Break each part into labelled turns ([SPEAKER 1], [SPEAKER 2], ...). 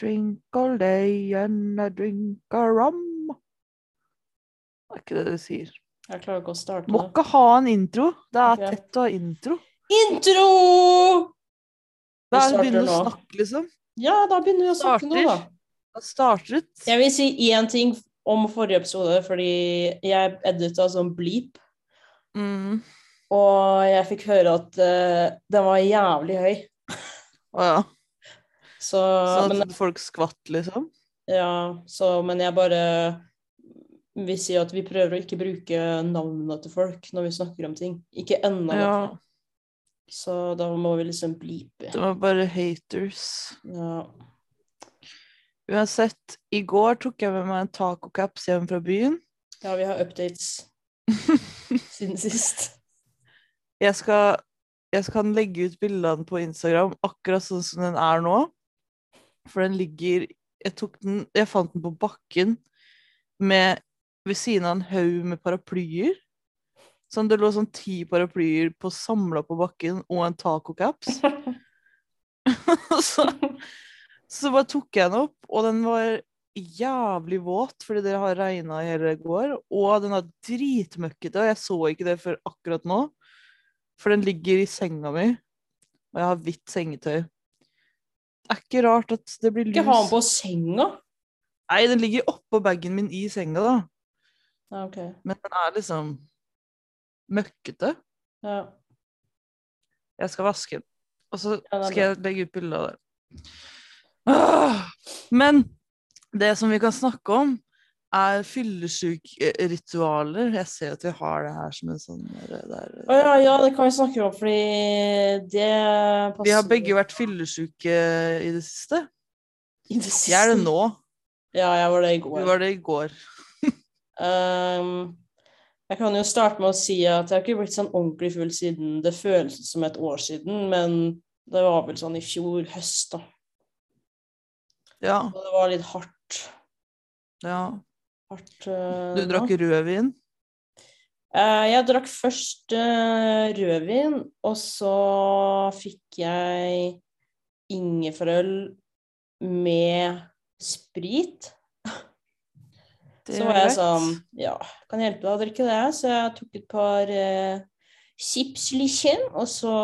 [SPEAKER 1] Drink all day and a drink a rum. Det er ikke det det sier.
[SPEAKER 2] Jeg klarer ikke å starte
[SPEAKER 1] Må
[SPEAKER 2] det.
[SPEAKER 1] ikke ha en intro. Det er
[SPEAKER 2] Ok.
[SPEAKER 1] tett å ha intro.
[SPEAKER 2] Intro!
[SPEAKER 1] Da
[SPEAKER 2] Vi starter
[SPEAKER 1] begynner du å
[SPEAKER 2] nå.
[SPEAKER 1] snakke, liksom.
[SPEAKER 2] Ja, da begynner vi å snakke nå, da.
[SPEAKER 1] Starter. Da starter det.
[SPEAKER 2] Jeg vil si én ting om forrige episode, fordi jeg edita sånn bleep,
[SPEAKER 1] Mm.
[SPEAKER 2] og jeg fikk høre at eh, den var jævlig høy.
[SPEAKER 1] Å ja.
[SPEAKER 2] Så,
[SPEAKER 1] Sånn
[SPEAKER 2] men,
[SPEAKER 1] at folk skvatt, liksom.
[SPEAKER 2] ja, så, men jeg bare vil si at vi prøver å ikke bruke navnene til folk når vi snakker om ting. Ikke ennå.
[SPEAKER 1] Ja.
[SPEAKER 2] Så da må vi liksom bleepe.
[SPEAKER 1] Det var bare haters.
[SPEAKER 2] Ja.
[SPEAKER 1] Uansett, i går tok jeg med meg en tacocaps hjem fra byen.
[SPEAKER 2] ja, vi har updates siden sist.
[SPEAKER 1] Jeg skal, jeg skal legge ut bildene på Instagram akkurat sånn som den er nå. For den ligger Jeg, tok den, jeg fant den på bakken med, ved siden av en haug med paraplyer. Sånn, det lå sånn ti paraplyer på samla på bakken og en tacocaps. så, så bare tok jeg den opp, og den var jævlig våt fordi det har regna i hele går. Og den er dritmøkkete, og jeg så ikke det før akkurat nå. For den ligger i senga mi, og jeg har hvitt sengetøy. Det er ikke rart at det blir
[SPEAKER 2] Ikke ha den
[SPEAKER 1] lus.
[SPEAKER 2] på senga.
[SPEAKER 1] Nei, den ligger oppå bagen min i senga, da.
[SPEAKER 2] Ja, ok.
[SPEAKER 1] Men den er liksom møkkete.
[SPEAKER 2] Ja.
[SPEAKER 1] Jeg skal vaske den. Og så
[SPEAKER 2] Ja, det er
[SPEAKER 1] skal jeg legge ut bilde av det. Åh! Men det som vi kan snakke om, er fyllesykritualer. Jeg ser at vi har det her som en sånn der, der.
[SPEAKER 2] Å ja, ja, det kan vi snakke om, fordi det passer
[SPEAKER 1] Vi har begge vært fyllesyke i det siste.
[SPEAKER 2] i det siste.
[SPEAKER 1] Jeg er det nå.
[SPEAKER 2] Ja, jeg var det i
[SPEAKER 1] Du
[SPEAKER 2] går.
[SPEAKER 1] var det i går.
[SPEAKER 2] Ehm, jeg kan jo starte med å si at jeg har ikke blitt sånn ordentlig full siden det føles som et år siden, men det var vel sånn i fjor høst, da.
[SPEAKER 1] Ja.
[SPEAKER 2] Og det var litt hardt.
[SPEAKER 1] ja.
[SPEAKER 2] hardt eh,
[SPEAKER 1] Du drakk rødvin.
[SPEAKER 2] Eh, jeg drakk først eh, rødvin, og så fikk jeg ingefærøl med sprit.
[SPEAKER 1] Det
[SPEAKER 2] så
[SPEAKER 1] er
[SPEAKER 2] var jeg
[SPEAKER 1] greit.
[SPEAKER 2] sånn Ja, kan hjelpe deg å drikke det. Så jeg tok et par eh, chipslichen, og så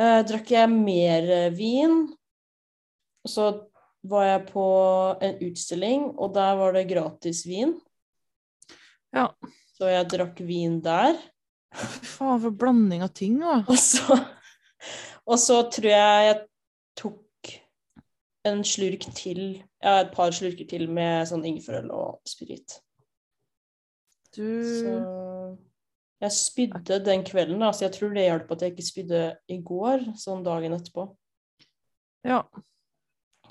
[SPEAKER 2] eh, drakk jeg mer eh, vin. Og så var jeg på en utstilling, og der var det gratis vin.
[SPEAKER 1] Ja.
[SPEAKER 2] Så jeg drakk vin der.
[SPEAKER 1] Fy faen, for blanding av ting, da.
[SPEAKER 2] Og så, og så tror jeg jeg tok en slurk til, ja, et par slurker til med sånn ingefærøl og sprit.
[SPEAKER 1] Du
[SPEAKER 2] Så jeg spydde den kvelden, da, så jeg tror det hjalp at jeg ikke spydde i går, sånn dagen etterpå.
[SPEAKER 1] Ja.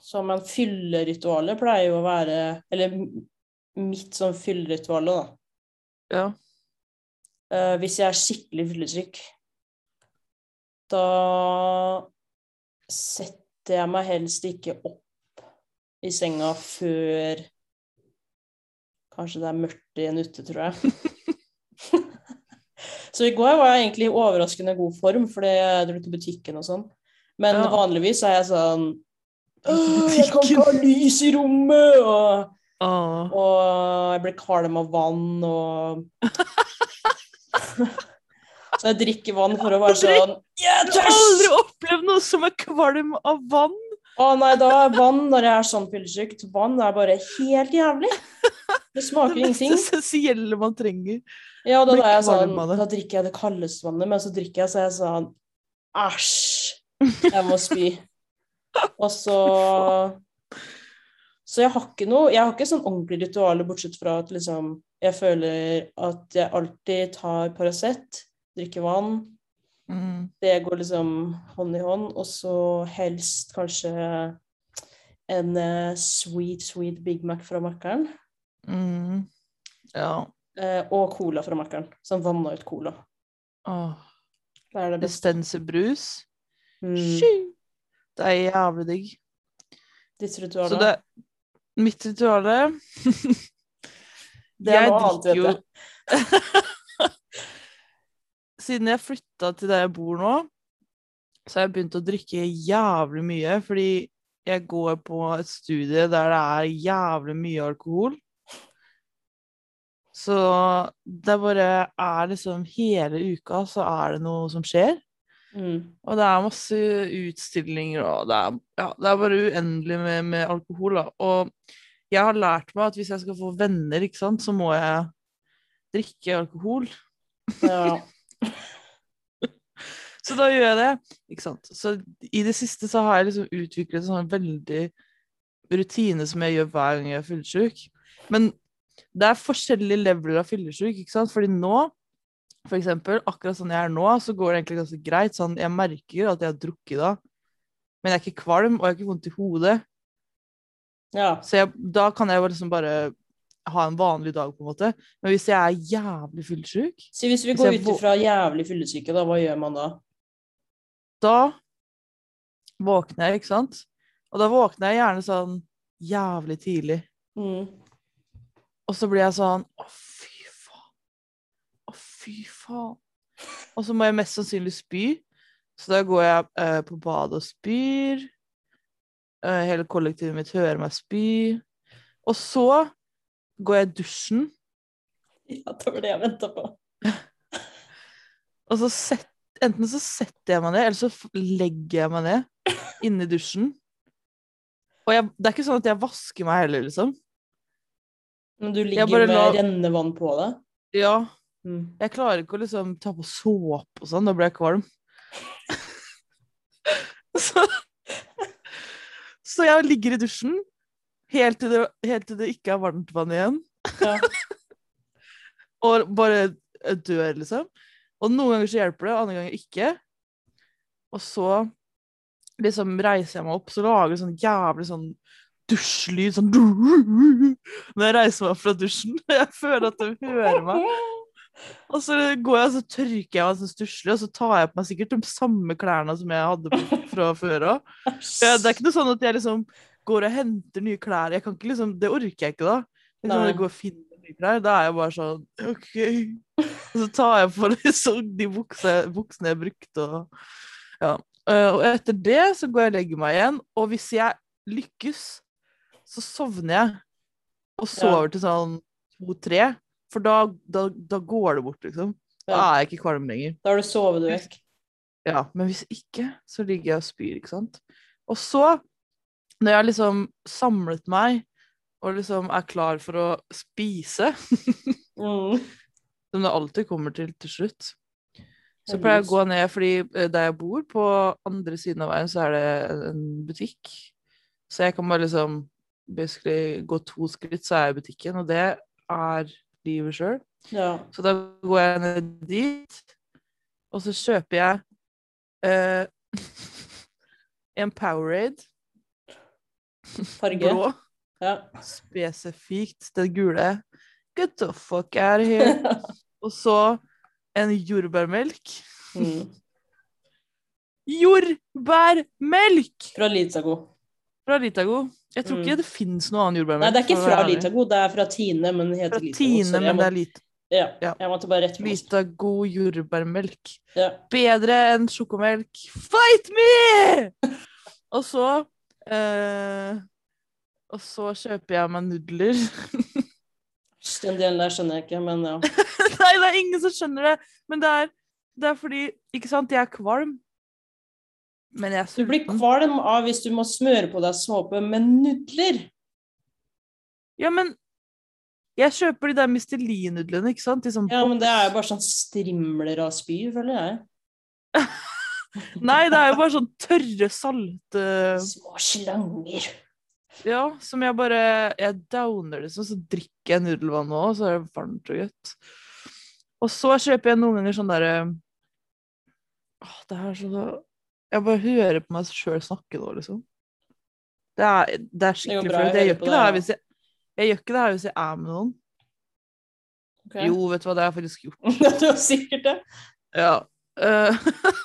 [SPEAKER 2] Så men fylleritualet pleier jo å være Eller m- mitt sånn fylleritual, da.
[SPEAKER 1] Ja.
[SPEAKER 2] Eh, hvis jeg er skikkelig fyllesyk, da setter jeg meg helst ikke opp i senga før Kanskje det er mørkt igjen ute, tror jeg. Så i går var jeg egentlig i overraskende god form, fordi jeg dro til butikken og sånn. Men
[SPEAKER 1] Ja.
[SPEAKER 2] vanligvis er jeg sånn
[SPEAKER 1] til
[SPEAKER 2] «Åh, Jeg
[SPEAKER 1] butikken!»
[SPEAKER 2] kan ikke ha lys i rommet! Og
[SPEAKER 1] Åh.
[SPEAKER 2] og jeg blir kvalm av vann og Så jeg drikker vann for å være sånn Jeg er
[SPEAKER 1] Jeg har aldri
[SPEAKER 2] tørst!
[SPEAKER 1] opplevd noe som er kvalm av vann.
[SPEAKER 2] Å nei, da er vann når jeg er sånn fyllesyk. Vann er bare helt jævlig. Det smaker
[SPEAKER 1] Det mest
[SPEAKER 2] ingenting.
[SPEAKER 1] essensielle man trenger.
[SPEAKER 2] Ja, da,
[SPEAKER 1] blir
[SPEAKER 2] da, er jeg sånn,
[SPEAKER 1] kvalm av det.
[SPEAKER 2] da drikker jeg det kaldeste vannet, men så drikker jeg så er jeg sånn Æsj! Jeg må spy. Og så Så jeg har ikke noe Jeg har ikke sånn ordentlig ritual bortsett fra at liksom jeg føler at jeg alltid tar Paracet, drikker vann.
[SPEAKER 1] Mm.
[SPEAKER 2] Det går liksom hånd i hånd. Og så helst kanskje en eh, sweet, sweet Big Mac fra Mackeren.
[SPEAKER 1] Mm. Ja.
[SPEAKER 2] eh, og cola fra Mackeren. Sånn vanna ut cola.
[SPEAKER 1] Åh.
[SPEAKER 2] Det er det beste.
[SPEAKER 1] Estensebrus.
[SPEAKER 2] Mm.
[SPEAKER 1] Sky. Det er jævlig digg.
[SPEAKER 2] Ditt ritual,
[SPEAKER 1] Så
[SPEAKER 2] da?
[SPEAKER 1] det Mitt rituale
[SPEAKER 2] Det er
[SPEAKER 1] Jeg
[SPEAKER 2] noe
[SPEAKER 1] drikker
[SPEAKER 2] annet, vet
[SPEAKER 1] jo
[SPEAKER 2] jeg.
[SPEAKER 1] Siden jeg flytta til der jeg bor nå, så har jeg begynt å drikke jævlig mye, fordi jeg går på et studie der det er jævlig mye alkohol. Så det bare er liksom Hele uka så er det noe som skjer.
[SPEAKER 2] Mm.
[SPEAKER 1] Og det er masse utstillinger, og det er, ja, det er bare uendelig med, med alkohol. Da. Og jeg har lært meg at hvis jeg skal få venner, ikke sant, så må jeg drikke alkohol.
[SPEAKER 2] Ja.
[SPEAKER 1] Så da gjør jeg det. Ikke sant? Så i det siste så har jeg liksom utviklet en sånn veldig rutine som jeg gjør hver gang jeg er fyllesyk. Men det er forskjellige leveler av fyllesyk, ikke sant? Fordi nå, for eksempel, akkurat sånn jeg er nå, så går det egentlig ganske greit. Sånn, jeg merker at jeg har drukket da, men jeg er ikke kvalm, og jeg har ikke vondt i hodet.
[SPEAKER 2] ja.
[SPEAKER 1] Så jeg, da kan jeg jo liksom bare ha en vanlig dag, på en måte. Men hvis jeg er jævlig fyllesyk,
[SPEAKER 2] Så hvis vi
[SPEAKER 1] Hvis
[SPEAKER 2] går
[SPEAKER 1] jeg
[SPEAKER 2] ut
[SPEAKER 1] vå-
[SPEAKER 2] ifra jævlig fyllesyke, da, hva gjør man da?
[SPEAKER 1] da våkner jeg, ikke sant? Og da våkner jeg gjerne sånn jævlig tidlig.
[SPEAKER 2] Mm.
[SPEAKER 1] Og så blir jeg sånn Å, fy faen. Å, fy faen. Og så må jeg mest sannsynlig spy. Så da går jeg eh, på badet og spyr. Eh, hele kollektivet mitt hører meg spy. Og så går jeg i dusjen,
[SPEAKER 2] Ja, det var det jeg venta på.
[SPEAKER 1] og så set, enten så setter jeg meg ned, eller så f- legger jeg meg ned inni dusjen. Og jeg, det er ikke sånn at jeg vasker meg heller, liksom.
[SPEAKER 2] Men du ligger
[SPEAKER 1] bare
[SPEAKER 2] med
[SPEAKER 1] la-
[SPEAKER 2] rennevann på deg?
[SPEAKER 1] Ja,
[SPEAKER 2] Mm.
[SPEAKER 1] Jeg klarer ikke å liksom ta på såpe og sånn, da blir jeg kvalm. så, så jeg ligger i dusjen helt til, det, helt til det ikke er varmt vann igjen,
[SPEAKER 2] Ja.
[SPEAKER 1] og bare dør, liksom. Og noen ganger så hjelper det, andre ganger ikke. Og så liksom reiser jeg meg opp, så lager det sånn jævlig sånn dusjlyd, sånn Når jeg reiser meg opp fra dusjen, jeg føler at de hører meg. Og så går jeg og så tørker jeg meg sånn stusslig, og så tar jeg på meg sikkert de samme klærne som jeg hadde på fra før av. Ja, Det er ikke noe sånn at jeg liksom går og henter nye klær. Jeg kan ikke liksom, Det orker jeg ikke da. Liksom, når
[SPEAKER 2] Nei.
[SPEAKER 1] jeg går og finner nye klær, da er jeg bare sånn OK. Og så tar jeg på liksom de bukse, buksene jeg brukte, og ja. Eh, Og etter det så går jeg og legger meg igjen, og hvis jeg lykkes, så sovner jeg. Og sover til sånn to-tre, for da, da, da går det bort, liksom. Da
[SPEAKER 2] Ja.
[SPEAKER 1] er jeg ikke kvalm lenger.
[SPEAKER 2] Da har du sovet du vekk.
[SPEAKER 1] Ja, men hvis ikke, så ligger jeg og spyr, ikke sant? Og så, når jeg har liksom samlet meg, og liksom er klar for å spise,
[SPEAKER 2] Mm.
[SPEAKER 1] som det alltid kommer til til slutt, så pleier jeg å gå ned, fordi eh, der jeg bor, på andre siden av veien, så er det en butikk. Så jeg kan bare liksom basically gå to skritt, så er jeg i butikken, og det er livet sjøl.
[SPEAKER 2] Ja.
[SPEAKER 1] Så da går jeg ned dit, og så kjøper jeg eh, en Powerade,
[SPEAKER 2] Farge.
[SPEAKER 1] blå,
[SPEAKER 2] Ja.
[SPEAKER 1] spesifikt det gule. Get the fuck out of here. Og så en jordbærmelk.
[SPEAKER 2] mm.
[SPEAKER 1] Jordbærmelk!
[SPEAKER 2] Fra Litago.
[SPEAKER 1] Fra Litago. Jeg tror
[SPEAKER 2] Mm.
[SPEAKER 1] ikke det fins noe annen jordbærmelk.
[SPEAKER 2] Nei, det er ikke
[SPEAKER 1] for å
[SPEAKER 2] fra
[SPEAKER 1] være ærlig.
[SPEAKER 2] Litago, det er fra Tine, men den heter
[SPEAKER 1] Fra
[SPEAKER 2] Litago.
[SPEAKER 1] Tine,
[SPEAKER 2] Sorry, jeg
[SPEAKER 1] men det
[SPEAKER 2] må-
[SPEAKER 1] er Lit-
[SPEAKER 2] Ja,
[SPEAKER 1] Ja.
[SPEAKER 2] jeg måtte bare rette på oss.
[SPEAKER 1] Litago jordbærmelk.
[SPEAKER 2] Ja.
[SPEAKER 1] bedre enn sjokomelk. Fight me! Og så eh, Og så kjøper jeg meg nudler.
[SPEAKER 2] Den delen der skjønner jeg ikke, men ja.
[SPEAKER 1] Nei, det er ingen som skjønner det. Men det er, det er fordi Ikke sant, jeg er kvalm. Men jeg er
[SPEAKER 2] Du blir
[SPEAKER 1] sulten.
[SPEAKER 2] kvalm av hvis du må smøre på deg såpe med nudler.
[SPEAKER 1] Ja, men jeg kjøper de der Mistelin-nudlene, ikke sant? De som
[SPEAKER 2] Ja, men det er jo bare sånn strimler av spy, føler jeg.
[SPEAKER 1] Nei, det er jo bare sånn tørre, salte
[SPEAKER 2] Små slanger.
[SPEAKER 1] Ja, som jeg bare Jeg downer liksom, så drikker jeg nudelvann nå, og så er det varmt og godt. Og så kjøper jeg noen ganger sånn derre Åh, det her er så Jeg bare hører på meg sjøl snakke nå, liksom. Det er, det er
[SPEAKER 2] går
[SPEAKER 1] skikkelig
[SPEAKER 2] bra, jeg
[SPEAKER 1] flaut. Jeg,
[SPEAKER 2] hører
[SPEAKER 1] gjør
[SPEAKER 2] på
[SPEAKER 1] ikke det her
[SPEAKER 2] deg,
[SPEAKER 1] hvis jeg jeg gjør ikke det her hvis jeg er med noen.
[SPEAKER 2] Ok.
[SPEAKER 1] Jo, vet du hva, det har jeg faktisk gjort.
[SPEAKER 2] du har sikkert det.
[SPEAKER 1] Ja. eh,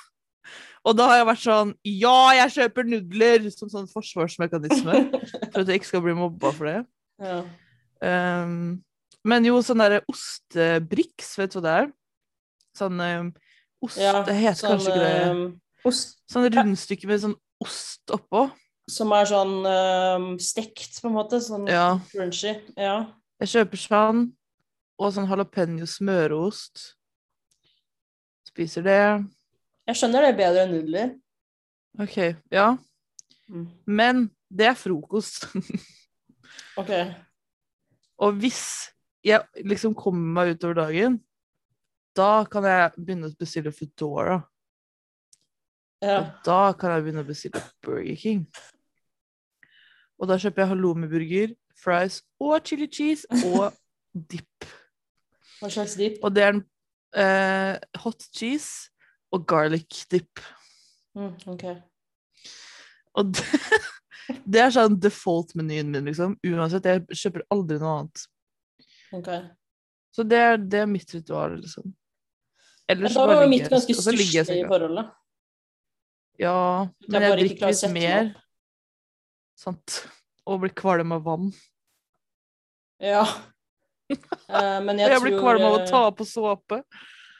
[SPEAKER 1] og da har jeg vært sånn Ja, jeg kjøper nudler! Som sånn forsvarsmekanisme. For at jeg ikke skal bli mobba for det.
[SPEAKER 2] Ja.
[SPEAKER 1] Um, men jo, sånn derre ostebriks, vet du hva det er? Sånn um, ost
[SPEAKER 2] Ja, sånn,
[SPEAKER 1] Det heter kanskje ikke det.
[SPEAKER 2] ehm, ost.
[SPEAKER 1] Sånn rundstykke med sånn ost oppå.
[SPEAKER 2] Som er sånn øhm, stekt, på en måte. Sånn
[SPEAKER 1] Ja.
[SPEAKER 2] crunchy. Ja.
[SPEAKER 1] Jeg kjøper sånn, og sånn jalapeño smøreost. Spiser det.
[SPEAKER 2] Jeg skjønner det er bedre enn nudler.
[SPEAKER 1] OK, ja.
[SPEAKER 2] Mm.
[SPEAKER 1] Men det er frokost.
[SPEAKER 2] Ok.
[SPEAKER 1] og hvis jeg liksom kommer meg utover dagen, da kan jeg begynne å bestille Foodora.
[SPEAKER 2] Ja.
[SPEAKER 1] Og da kan jeg begynne å bestille Burger King. Og da kjøper jeg halloumiburger, fries og chili cheese og dip.
[SPEAKER 2] Hva slags dip?
[SPEAKER 1] Og det er en eh, hot cheese og garlic dip.
[SPEAKER 2] Mm, ok.
[SPEAKER 1] Og det, det er sånn default-menyen min, liksom. Uansett, jeg kjøper aldri noe annet.
[SPEAKER 2] ok.
[SPEAKER 1] Så det er, det er mitt ritual, liksom.
[SPEAKER 2] Ja,
[SPEAKER 1] Ellers
[SPEAKER 2] da
[SPEAKER 1] så bare
[SPEAKER 2] var
[SPEAKER 1] ligger
[SPEAKER 2] mitt
[SPEAKER 1] jeg-
[SPEAKER 2] ganske
[SPEAKER 1] og så ligger jeg i
[SPEAKER 2] stusslig i
[SPEAKER 1] senga.
[SPEAKER 2] forholdet.
[SPEAKER 1] Ja,
[SPEAKER 2] Jeg
[SPEAKER 1] men
[SPEAKER 2] bare
[SPEAKER 1] jeg
[SPEAKER 2] ikke klarer
[SPEAKER 1] drikker
[SPEAKER 2] å
[SPEAKER 1] litt
[SPEAKER 2] sette meg
[SPEAKER 1] mer. Sant. Og blir kvalm av vann.
[SPEAKER 2] Ja. Eh, men
[SPEAKER 1] Og
[SPEAKER 2] jeg,
[SPEAKER 1] jeg blir
[SPEAKER 2] tror,
[SPEAKER 1] kvalm av å
[SPEAKER 2] eh,
[SPEAKER 1] ta på såpe.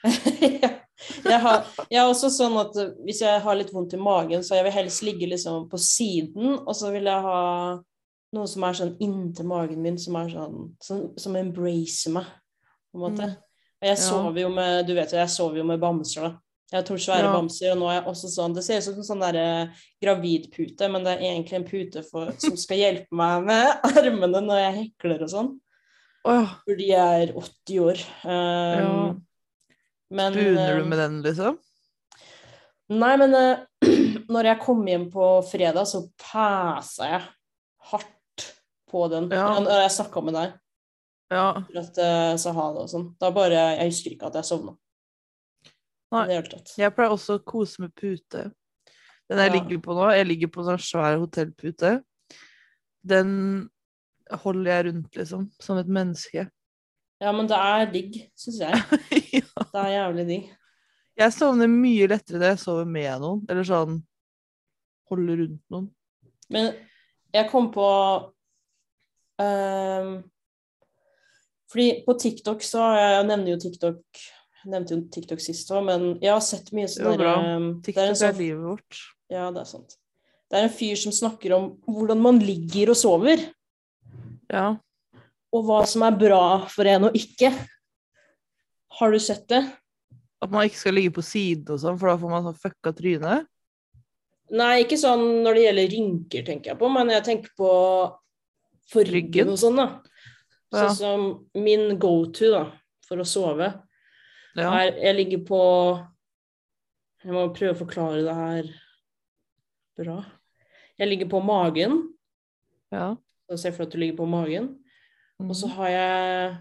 [SPEAKER 2] jeg, har, jeg er også sånn at eh, hvis jeg har litt vondt i magen, så jeg vil helst ligge liksom på siden, og så vil jeg ha noe som er sånn inntil magen min, som er sånn som, som embracer meg, på en måte.
[SPEAKER 1] Mm.
[SPEAKER 2] Og jeg
[SPEAKER 1] Ja.
[SPEAKER 2] sover jo med du vet jo, jeg sover jo med bamser, da. Jeg har to
[SPEAKER 1] Ja.
[SPEAKER 2] svære bamser, og nå er jeg også sånn Det ser ut som en sånn derre gravidpute, men det er egentlig en pute for, som skal hjelpe meg med armene når jeg hekler og sånn.
[SPEAKER 1] Åh,
[SPEAKER 2] For de er 80 år. Um,
[SPEAKER 1] ja.
[SPEAKER 2] men,
[SPEAKER 1] Buner du
[SPEAKER 2] eh,
[SPEAKER 1] med den, liksom?
[SPEAKER 2] Nei, men eh, når jeg kom hjem på fredag, så pæsa jeg hardt på den.
[SPEAKER 1] Ja.
[SPEAKER 2] Ja, Når jeg snakka med deg
[SPEAKER 1] Ja.
[SPEAKER 2] for at jeg sa ha det og sånn. Da bare Jeg husker ikke at jeg sovna.
[SPEAKER 1] Nei.
[SPEAKER 2] I det hele tatt.
[SPEAKER 1] Jeg pleier også å kose med pute. Den jeg
[SPEAKER 2] Ja.
[SPEAKER 1] ligger på nå, jeg ligger på en sånn svær hotellpute. Den holder jeg rundt, liksom, som et menneske.
[SPEAKER 2] Ja, men det er digg, syns jeg.
[SPEAKER 1] Ja.
[SPEAKER 2] Det er jævlig digg.
[SPEAKER 1] jeg sovner mye lettere når jeg sover med noen, eller sånn holder rundt noen.
[SPEAKER 2] Men jeg kom på ehm, Fordi på TikTok så har Jeg jeg nevner jo TikTok jeg nevnte jo TikTok sist òg, men jeg har sett mye
[SPEAKER 1] Det var
[SPEAKER 2] sånn
[SPEAKER 1] bra.
[SPEAKER 2] ehm, det
[SPEAKER 1] TikTok
[SPEAKER 2] er
[SPEAKER 1] er,
[SPEAKER 2] en sånn
[SPEAKER 1] livet vårt.
[SPEAKER 2] Ja, det er sant. Det er en fyr som snakker om hvordan man ligger og sover,
[SPEAKER 1] Ja.
[SPEAKER 2] og hva som er bra for en og ikke. Har du sett det?
[SPEAKER 1] At man ikke skal ligge på siden og sånn, for da får man sånn fucka tryne.
[SPEAKER 2] Nei, ikke sånn når det gjelder rynker, tenker jeg på, men jeg tenker på for
[SPEAKER 1] Ryggen?
[SPEAKER 2] ryggen og sånn, da.
[SPEAKER 1] Ja.
[SPEAKER 2] Sånn som min go-to, da, for å sove,
[SPEAKER 1] Ja.
[SPEAKER 2] er Jeg ligger på Jeg må prøve å forklare det her bra. Jeg ligger på magen.
[SPEAKER 1] ja.
[SPEAKER 2] Så Se for deg at du ligger på magen.
[SPEAKER 1] Mm.
[SPEAKER 2] Og så har jeg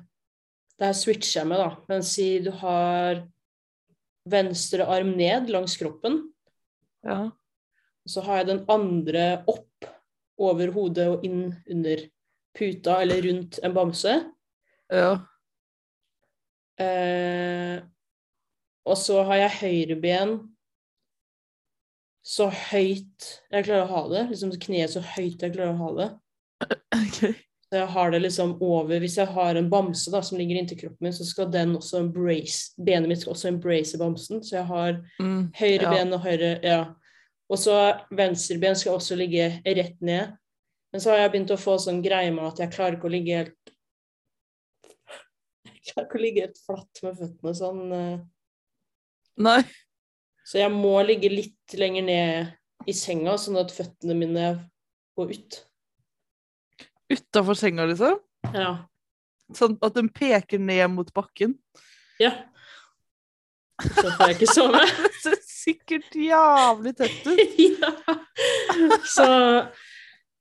[SPEAKER 2] Der switcher jeg med, da. Men si du har venstre arm ned langs kroppen,
[SPEAKER 1] ja.
[SPEAKER 2] og så har jeg den andre opp over hodet og inn under puta eller rundt en bamse.
[SPEAKER 1] ja.
[SPEAKER 2] Eh, og så har jeg høyre ben så høyt jeg klarer å ha det. Liksom kneet så høyt jeg klarer å ha det.
[SPEAKER 1] Ok.
[SPEAKER 2] Så jeg har det liksom over Hvis jeg har en bamse da, som ligger inntil kroppen min, så skal den også embrace Benet mitt skal også embrace bamsen. Så jeg har
[SPEAKER 1] Mm.
[SPEAKER 2] høyre
[SPEAKER 1] Ja.
[SPEAKER 2] ben og høyre Ja. Og så venstre ben skal også ligge rett ned. Men så har jeg begynt å få sånn greie med at jeg klarer ikke å ligge helt Jeg klarer ikke å ligge helt flatt med føttene sånn. eh.
[SPEAKER 1] Nei.
[SPEAKER 2] Så jeg må ligge litt lenger ned i senga, sånn at føttene mine går ut.
[SPEAKER 1] Utafor senga, liksom?
[SPEAKER 2] Ja.
[SPEAKER 1] Sånn at den peker ned mot bakken.
[SPEAKER 2] ja. Så får jeg ikke sove.
[SPEAKER 1] Det ser sikkert jævlig tett ut.
[SPEAKER 2] ja. Så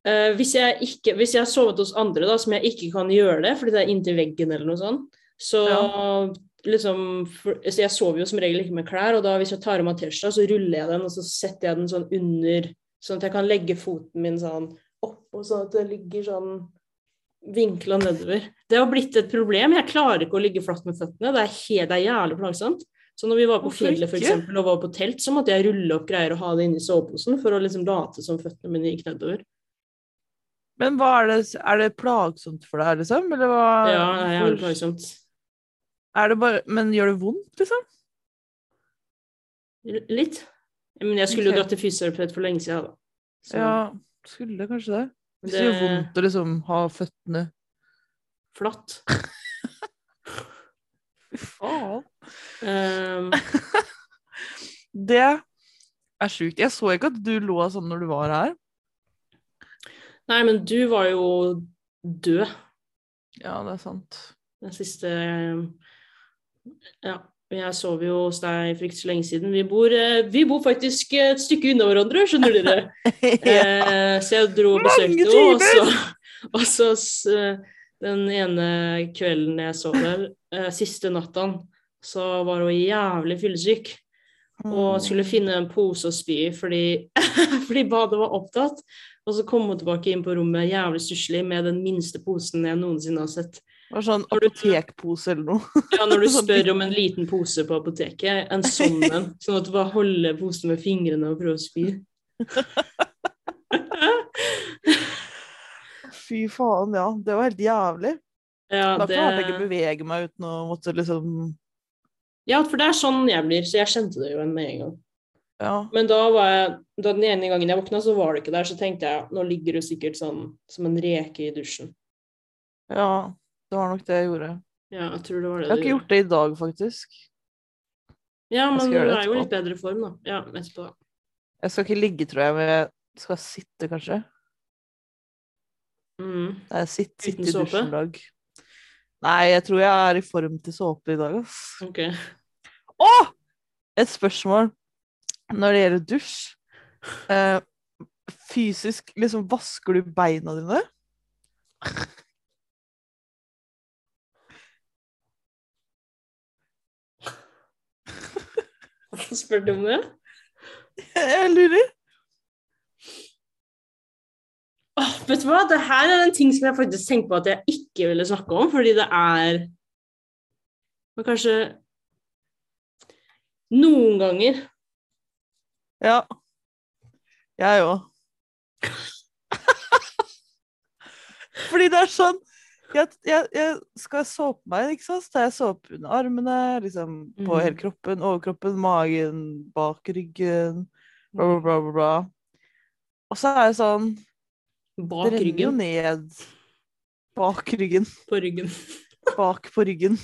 [SPEAKER 2] eh, hvis, jeg ikke, hvis jeg har sovet hos andre da, som jeg ikke kan gjøre det, fordi det er inntil veggen eller noe sånt, så liksom for, Så jeg sover jo som regel ikke med klær, og da hvis jeg tar av meg T-skjorta, så ruller jeg den, og så setter jeg den sånn under, sånn at jeg kan legge foten min sånn oppå, sånn at det ligger sånn vinkla nedover. Det har blitt et problem. Jeg klarer ikke å ligge flatt med føttene. Det er, helt, det er jævlig plagsomt. Så når vi var på
[SPEAKER 1] Hvorfor
[SPEAKER 2] fjellet for
[SPEAKER 1] ikke?
[SPEAKER 2] eksempel, og var på telt, så måtte jeg rulle opp greier og ha det inni soveposen for å liksom late som føttene mine gikk nedover.
[SPEAKER 1] Men hva er det Er det plagsomt for deg, liksom? Eller hva
[SPEAKER 2] Ja, det er jævlig
[SPEAKER 1] hvor-
[SPEAKER 2] plagsomt.
[SPEAKER 1] er det bare Men gjør det vondt, liksom?
[SPEAKER 2] L- Litt. Men jeg skulle
[SPEAKER 1] Ok.
[SPEAKER 2] jo dratt til fysioterapeut for lenge siden, da. Så,
[SPEAKER 1] Ja, skulle kanskje det. Hvis det gjør
[SPEAKER 2] Det-
[SPEAKER 1] vondt å liksom ha føttene
[SPEAKER 2] Flatt.
[SPEAKER 1] Fy faen.
[SPEAKER 2] Ehm,
[SPEAKER 1] Det er sjukt. Jeg så ikke at du lå sånn når du var her.
[SPEAKER 2] nei, men du var jo død
[SPEAKER 1] Ja, det er sant.
[SPEAKER 2] den siste Ja, jeg sov jo hos deg for ikke så lenge siden. Vi bor, eh, vi bor faktisk et stykke unna hverandre, skjønner dere. Eh, så jeg dro og
[SPEAKER 1] Mange
[SPEAKER 2] besøkte henne, og
[SPEAKER 1] timer!
[SPEAKER 2] så, og så s- eh, den ene kvelden jeg sov der, eh, siste natta, så var hun jævlig fyllesyk
[SPEAKER 1] Mm.
[SPEAKER 2] og skulle finne en pose å spy i fordi, fordi badet var opptatt. Og så kom hun tilbake inn på rommet jævlig stusslig med den minste posen jeg noensinne har sett.
[SPEAKER 1] Det var sånn
[SPEAKER 2] Har du-
[SPEAKER 1] apotekpose eller noe.
[SPEAKER 2] Ja, når du
[SPEAKER 1] Sånn
[SPEAKER 2] spør om en liten pose på apoteket, en sånn en, sånn at du bare holder posen med fingrene og prøver å spy.
[SPEAKER 1] Fy faen, ja. Det var helt jævlig.
[SPEAKER 2] Ja,
[SPEAKER 1] Da
[SPEAKER 2] det...
[SPEAKER 1] klarte jeg ikke å bevege meg uten å måtte liksom
[SPEAKER 2] ja, for det er sånn jeg blir, så jeg kjente det jo en med en gang.
[SPEAKER 1] Ja.
[SPEAKER 2] Men da var jeg, da den ene gangen jeg våkna, så var du ikke der, så tenkte jeg, nå ligger du sikkert sånn som en reke i dusjen.
[SPEAKER 1] ja det var nok det jeg gjorde.
[SPEAKER 2] Ja, jeg tror det var det
[SPEAKER 1] Jeg har ikke gjort det i dag, faktisk.
[SPEAKER 2] Ja,
[SPEAKER 1] skal
[SPEAKER 2] men du
[SPEAKER 1] gjøre det
[SPEAKER 2] er jo
[SPEAKER 1] etterpå.
[SPEAKER 2] litt bedre form, da. Ja, etterpå.
[SPEAKER 1] Jeg skal ikke ligge, tror jeg, men jeg skal sitte, kanskje.
[SPEAKER 2] Mm.
[SPEAKER 1] Nei, sitt, sitt i
[SPEAKER 2] Uten såpe?
[SPEAKER 1] dusjen i dag. Nei, jeg tror jeg er i form til såpe i dag, ass.
[SPEAKER 2] Ok.
[SPEAKER 1] Å! Et spørsmål når det gjelder dusj. Eh, fysisk, liksom, vasker du beina dine?
[SPEAKER 2] Spør du om det?
[SPEAKER 1] Jeg lurer.
[SPEAKER 2] Åh, vet du hva, det her er en ting som jeg faktisk tenker på at jeg ikke ville snakke om, fordi det er Men kanskje Noen ganger
[SPEAKER 1] Ja. Jeg òg. Fordi det er sånn jeg, jeg, jeg skal såpe meg, ikke sant? Så tar jeg såpe under armene, liksom på
[SPEAKER 2] Mhm.
[SPEAKER 1] hele kroppen, overkroppen, magen, bak ryggen, bla, bla, bla, bla, bla. Og så er det sånn Det
[SPEAKER 2] bak
[SPEAKER 1] renner jo
[SPEAKER 2] ryggen
[SPEAKER 1] ned bak ryggen.
[SPEAKER 2] på ryggen.
[SPEAKER 1] Bak på ryggen.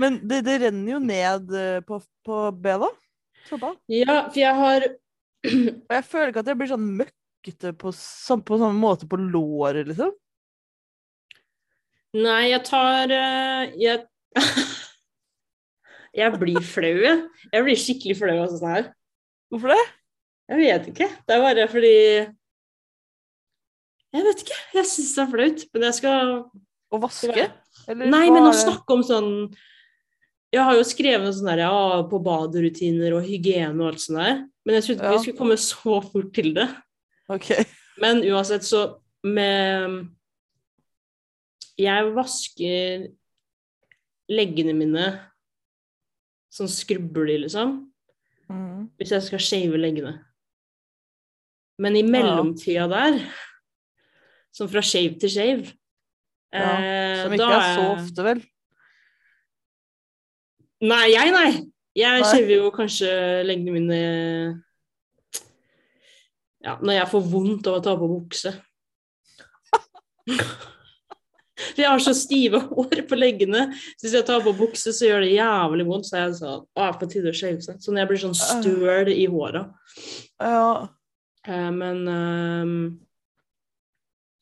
[SPEAKER 1] Men det, det renner jo ned eh, på, på bena. Sånn.
[SPEAKER 2] Ja, for jeg har
[SPEAKER 1] Og jeg føler ikke at jeg blir sånn møkkete på, sam- på samme måte på låret, liksom.
[SPEAKER 2] Nei, jeg tar eh, Jeg Jeg blir flau, jeg. Jeg blir skikkelig flau av sånn her.
[SPEAKER 1] Hvorfor det?
[SPEAKER 2] Jeg vet ikke. Det er bare fordi Jeg vet ikke. Jeg syns det er flaut, men jeg skal
[SPEAKER 1] Å vaske? Eller
[SPEAKER 2] Nei,
[SPEAKER 1] hva
[SPEAKER 2] men å
[SPEAKER 1] er det?
[SPEAKER 2] snakke om sånn Jeg har jo skrevet noe sånn der ja, på baderutiner og hygiene og alt sånt der, men jeg trodde ikke
[SPEAKER 1] Ja.
[SPEAKER 2] vi skulle komme så fort til det.
[SPEAKER 1] Ok.
[SPEAKER 2] Men uansett, så med Jeg vasker leggene mine sånn skrubber de, liksom,
[SPEAKER 1] Mm.
[SPEAKER 2] hvis jeg skal shave leggene. Men i
[SPEAKER 1] Ja.
[SPEAKER 2] mellomtida der, sånn fra shave til shave
[SPEAKER 1] Ja,
[SPEAKER 2] eh,
[SPEAKER 1] Som
[SPEAKER 2] da
[SPEAKER 1] ikke er så
[SPEAKER 2] jeg-
[SPEAKER 1] ofte, vel.
[SPEAKER 2] Nei, jeg nei. Jeg
[SPEAKER 1] Nei.
[SPEAKER 2] skjever jo kanskje lengdene mine ja, når jeg får vondt av å ta på bukse. For jeg har så stive hår på leggene. Så hvis jeg tar på bukse, så gjør det jævlig vondt. Så jeg sa ah, på tide å shave seg. Sånn jeg blir sånn støl i håra.
[SPEAKER 1] Ja.
[SPEAKER 2] Eh, men ehm,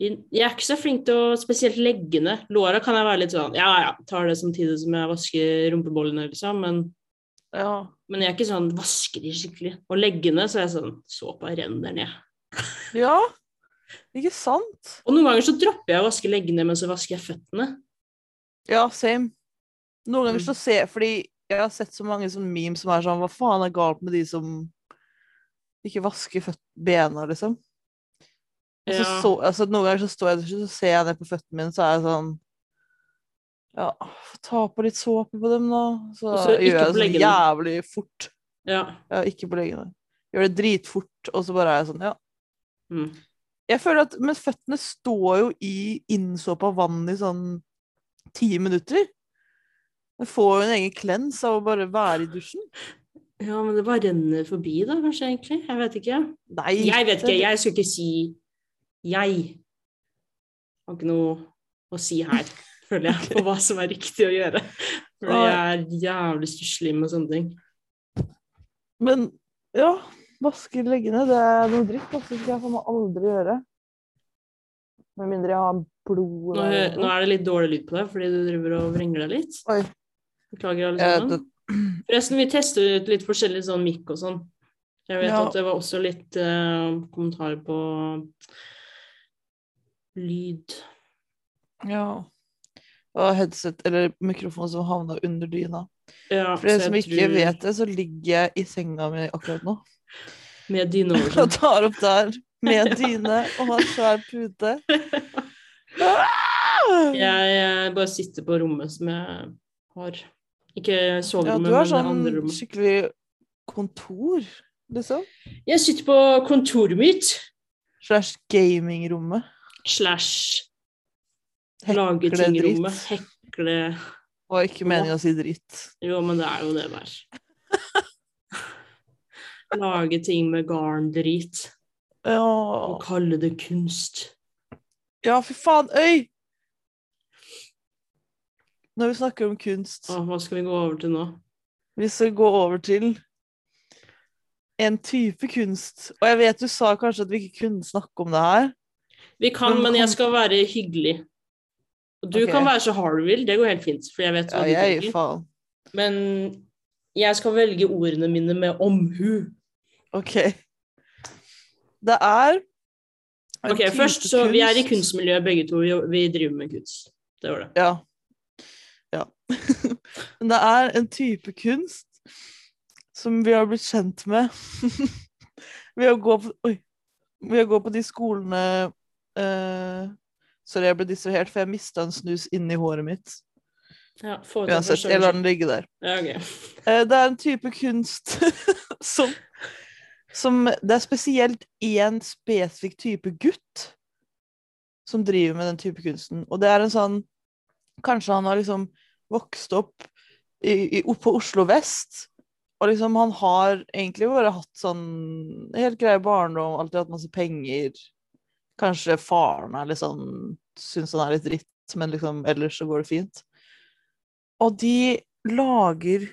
[SPEAKER 2] i- jeg er ikke så flink til å Spesielt leggene. Låra kan jeg være litt sånn Ja, ja, tar det samtidig som jeg vasker rumpebollene, liksom. Men,
[SPEAKER 1] ja.
[SPEAKER 2] men jeg er ikke sånn vasker de skikkelig. Og leggene, så er jeg sånn Såpa renner ned.
[SPEAKER 1] Ja. Ikke sant?
[SPEAKER 2] Og noen ganger så dropper jeg å vaske leggene, men så vasker jeg føttene.
[SPEAKER 1] Ja, same. Noen ganger
[SPEAKER 2] Mm.
[SPEAKER 1] så ser jeg Fordi jeg har sett så mange sånne memes som er sånn Hva faen er galt med de som ikke vasker føtt- bena, liksom? Og så,
[SPEAKER 2] Ja.
[SPEAKER 1] så, altså, noen ganger så står jeg i dusjen, så ser jeg ned på føttene mine, så er jeg sånn Ja, få ta på litt såpe på dem, da. Så,
[SPEAKER 2] Og så ikke
[SPEAKER 1] gjør jeg
[SPEAKER 2] på
[SPEAKER 1] det
[SPEAKER 2] leggene.
[SPEAKER 1] sånn jævlig fort.
[SPEAKER 2] Ja.
[SPEAKER 1] Ja, ikke på leggene. Gjør det dritfort, og så bare er jeg sånn, ja.
[SPEAKER 2] Mm.
[SPEAKER 1] Jeg føler at Men føttene står jo i innsåpa vann i sånn ti minutter. Du får jo en egen klens av å bare være i dusjen.
[SPEAKER 2] Ja, men det bare renner forbi, da, kanskje, egentlig. Jeg vet ikke.
[SPEAKER 1] Nei!
[SPEAKER 2] Jeg vet ikke, jeg skulle ikke si jeg. Har ikke noe å si her, føler jeg, på hva som er riktig å gjøre. For jeg er jævlig stusslig med sånne ting.
[SPEAKER 1] Men ja, vaske leggene, det er noe dritt. Altså, det skal jeg faen meg aldri gjøre. Med mindre jeg har blod
[SPEAKER 2] Nå, hø- nå er det litt dårlig lyd på deg, fordi du driver og vrenger deg litt.
[SPEAKER 1] Oi.
[SPEAKER 2] Beklager, alle
[SPEAKER 1] Ja,
[SPEAKER 2] sammen.
[SPEAKER 1] det-
[SPEAKER 2] Forresten, vi tester ut litt forskjellig sånn mikk og sånn. Jeg vet
[SPEAKER 1] Ja.
[SPEAKER 2] at det var også litt eh, kommentarer på lyd.
[SPEAKER 1] Ja. Og headset eller mikrofon som havna under dyna.
[SPEAKER 2] Ja,
[SPEAKER 1] For dere
[SPEAKER 2] så
[SPEAKER 1] som
[SPEAKER 2] jeg
[SPEAKER 1] ikke vet det, så ligger jeg i senga mi akkurat nå
[SPEAKER 2] Med dyne over
[SPEAKER 1] og
[SPEAKER 2] sånn.
[SPEAKER 1] tar opp der med dyne og har svær pute. Ah!
[SPEAKER 2] Jeg, eh, bare sitter på rommet som jeg har. Ikke
[SPEAKER 1] Ja,
[SPEAKER 2] soverommet,
[SPEAKER 1] du har
[SPEAKER 2] men det
[SPEAKER 1] sånn
[SPEAKER 2] andre rommet.
[SPEAKER 1] skikkelig kontor, liksom.
[SPEAKER 2] Jeg sitter på kontoret mitt
[SPEAKER 1] Slash gamingrommet.
[SPEAKER 2] slash
[SPEAKER 1] Hekle
[SPEAKER 2] lage ting i
[SPEAKER 1] dritt.
[SPEAKER 2] rommet. Hekle
[SPEAKER 1] Og ikke meningen å si dritt.
[SPEAKER 2] Jo, men det er jo det der. Lage ting med garndrit
[SPEAKER 1] Ja.
[SPEAKER 2] og kalle det kunst.
[SPEAKER 1] Ja, fy faen, øy! Når vi snakker om kunst,
[SPEAKER 2] Å, hva skal vi gå over til nå?
[SPEAKER 1] vi skal gå over til en type kunst. Og jeg vet du sa kanskje at vi ikke kunne snakke om det her.
[SPEAKER 2] Vi kan,
[SPEAKER 1] Men
[SPEAKER 2] men jeg
[SPEAKER 1] kom-
[SPEAKER 2] skal være hyggelig. Og du
[SPEAKER 1] Ok.
[SPEAKER 2] kan være så hard du vil, det går helt fint, for jeg vet
[SPEAKER 1] Ja,
[SPEAKER 2] hva du
[SPEAKER 1] jeg,
[SPEAKER 2] tenker.
[SPEAKER 1] faen.
[SPEAKER 2] Men jeg skal velge ordene mine med omhu.
[SPEAKER 1] Ok. Det er en
[SPEAKER 2] Ok,
[SPEAKER 1] type
[SPEAKER 2] først så Vi er i kunstmiljøet begge to, vi, vi driver med kunst. Det var det.
[SPEAKER 1] Ja. ja. Men det er en type kunst som vi har blitt kjent med ved å gå på Oi. Ved å gå på de skolene eh, Sorry, jeg ble distrahert, for jeg mista en snus inni håret mitt.
[SPEAKER 2] Ja, få det
[SPEAKER 1] Uansett,
[SPEAKER 2] først,
[SPEAKER 1] jeg lar den ligge der.
[SPEAKER 2] Ja, ok.
[SPEAKER 1] Eh, det er en type kunst som, som Det er spesielt én spesifikk type gutt som driver med den type kunsten. Og det er en sånn Kanskje han har liksom vokst opp i, i, opp på Oslo vest. Og liksom han har egentlig bare hatt sånn helt grei barndom, alltid hatt masse penger. Kanskje faren er litt sånn Syns han er litt dritt, men liksom ellers så går det fint. Og de lager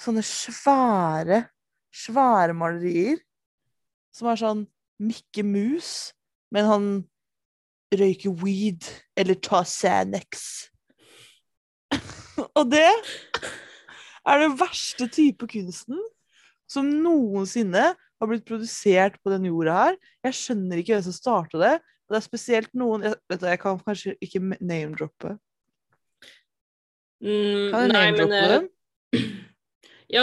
[SPEAKER 1] sånne svære, svære malerier. Som er sånn Mikke Mus, men han røyker weed eller tar Xanax. Og det er den verste type kunsten som noensinne har blitt produsert på den jorda her. Jeg skjønner ikke hvem som starta det. Og det er spesielt noen Jeg, vet du, jeg kan kanskje ikke name-droppe.
[SPEAKER 2] Mm,
[SPEAKER 1] Kan jeg
[SPEAKER 2] nei, men
[SPEAKER 1] name-droppe
[SPEAKER 2] eh,
[SPEAKER 1] dem?
[SPEAKER 2] ja,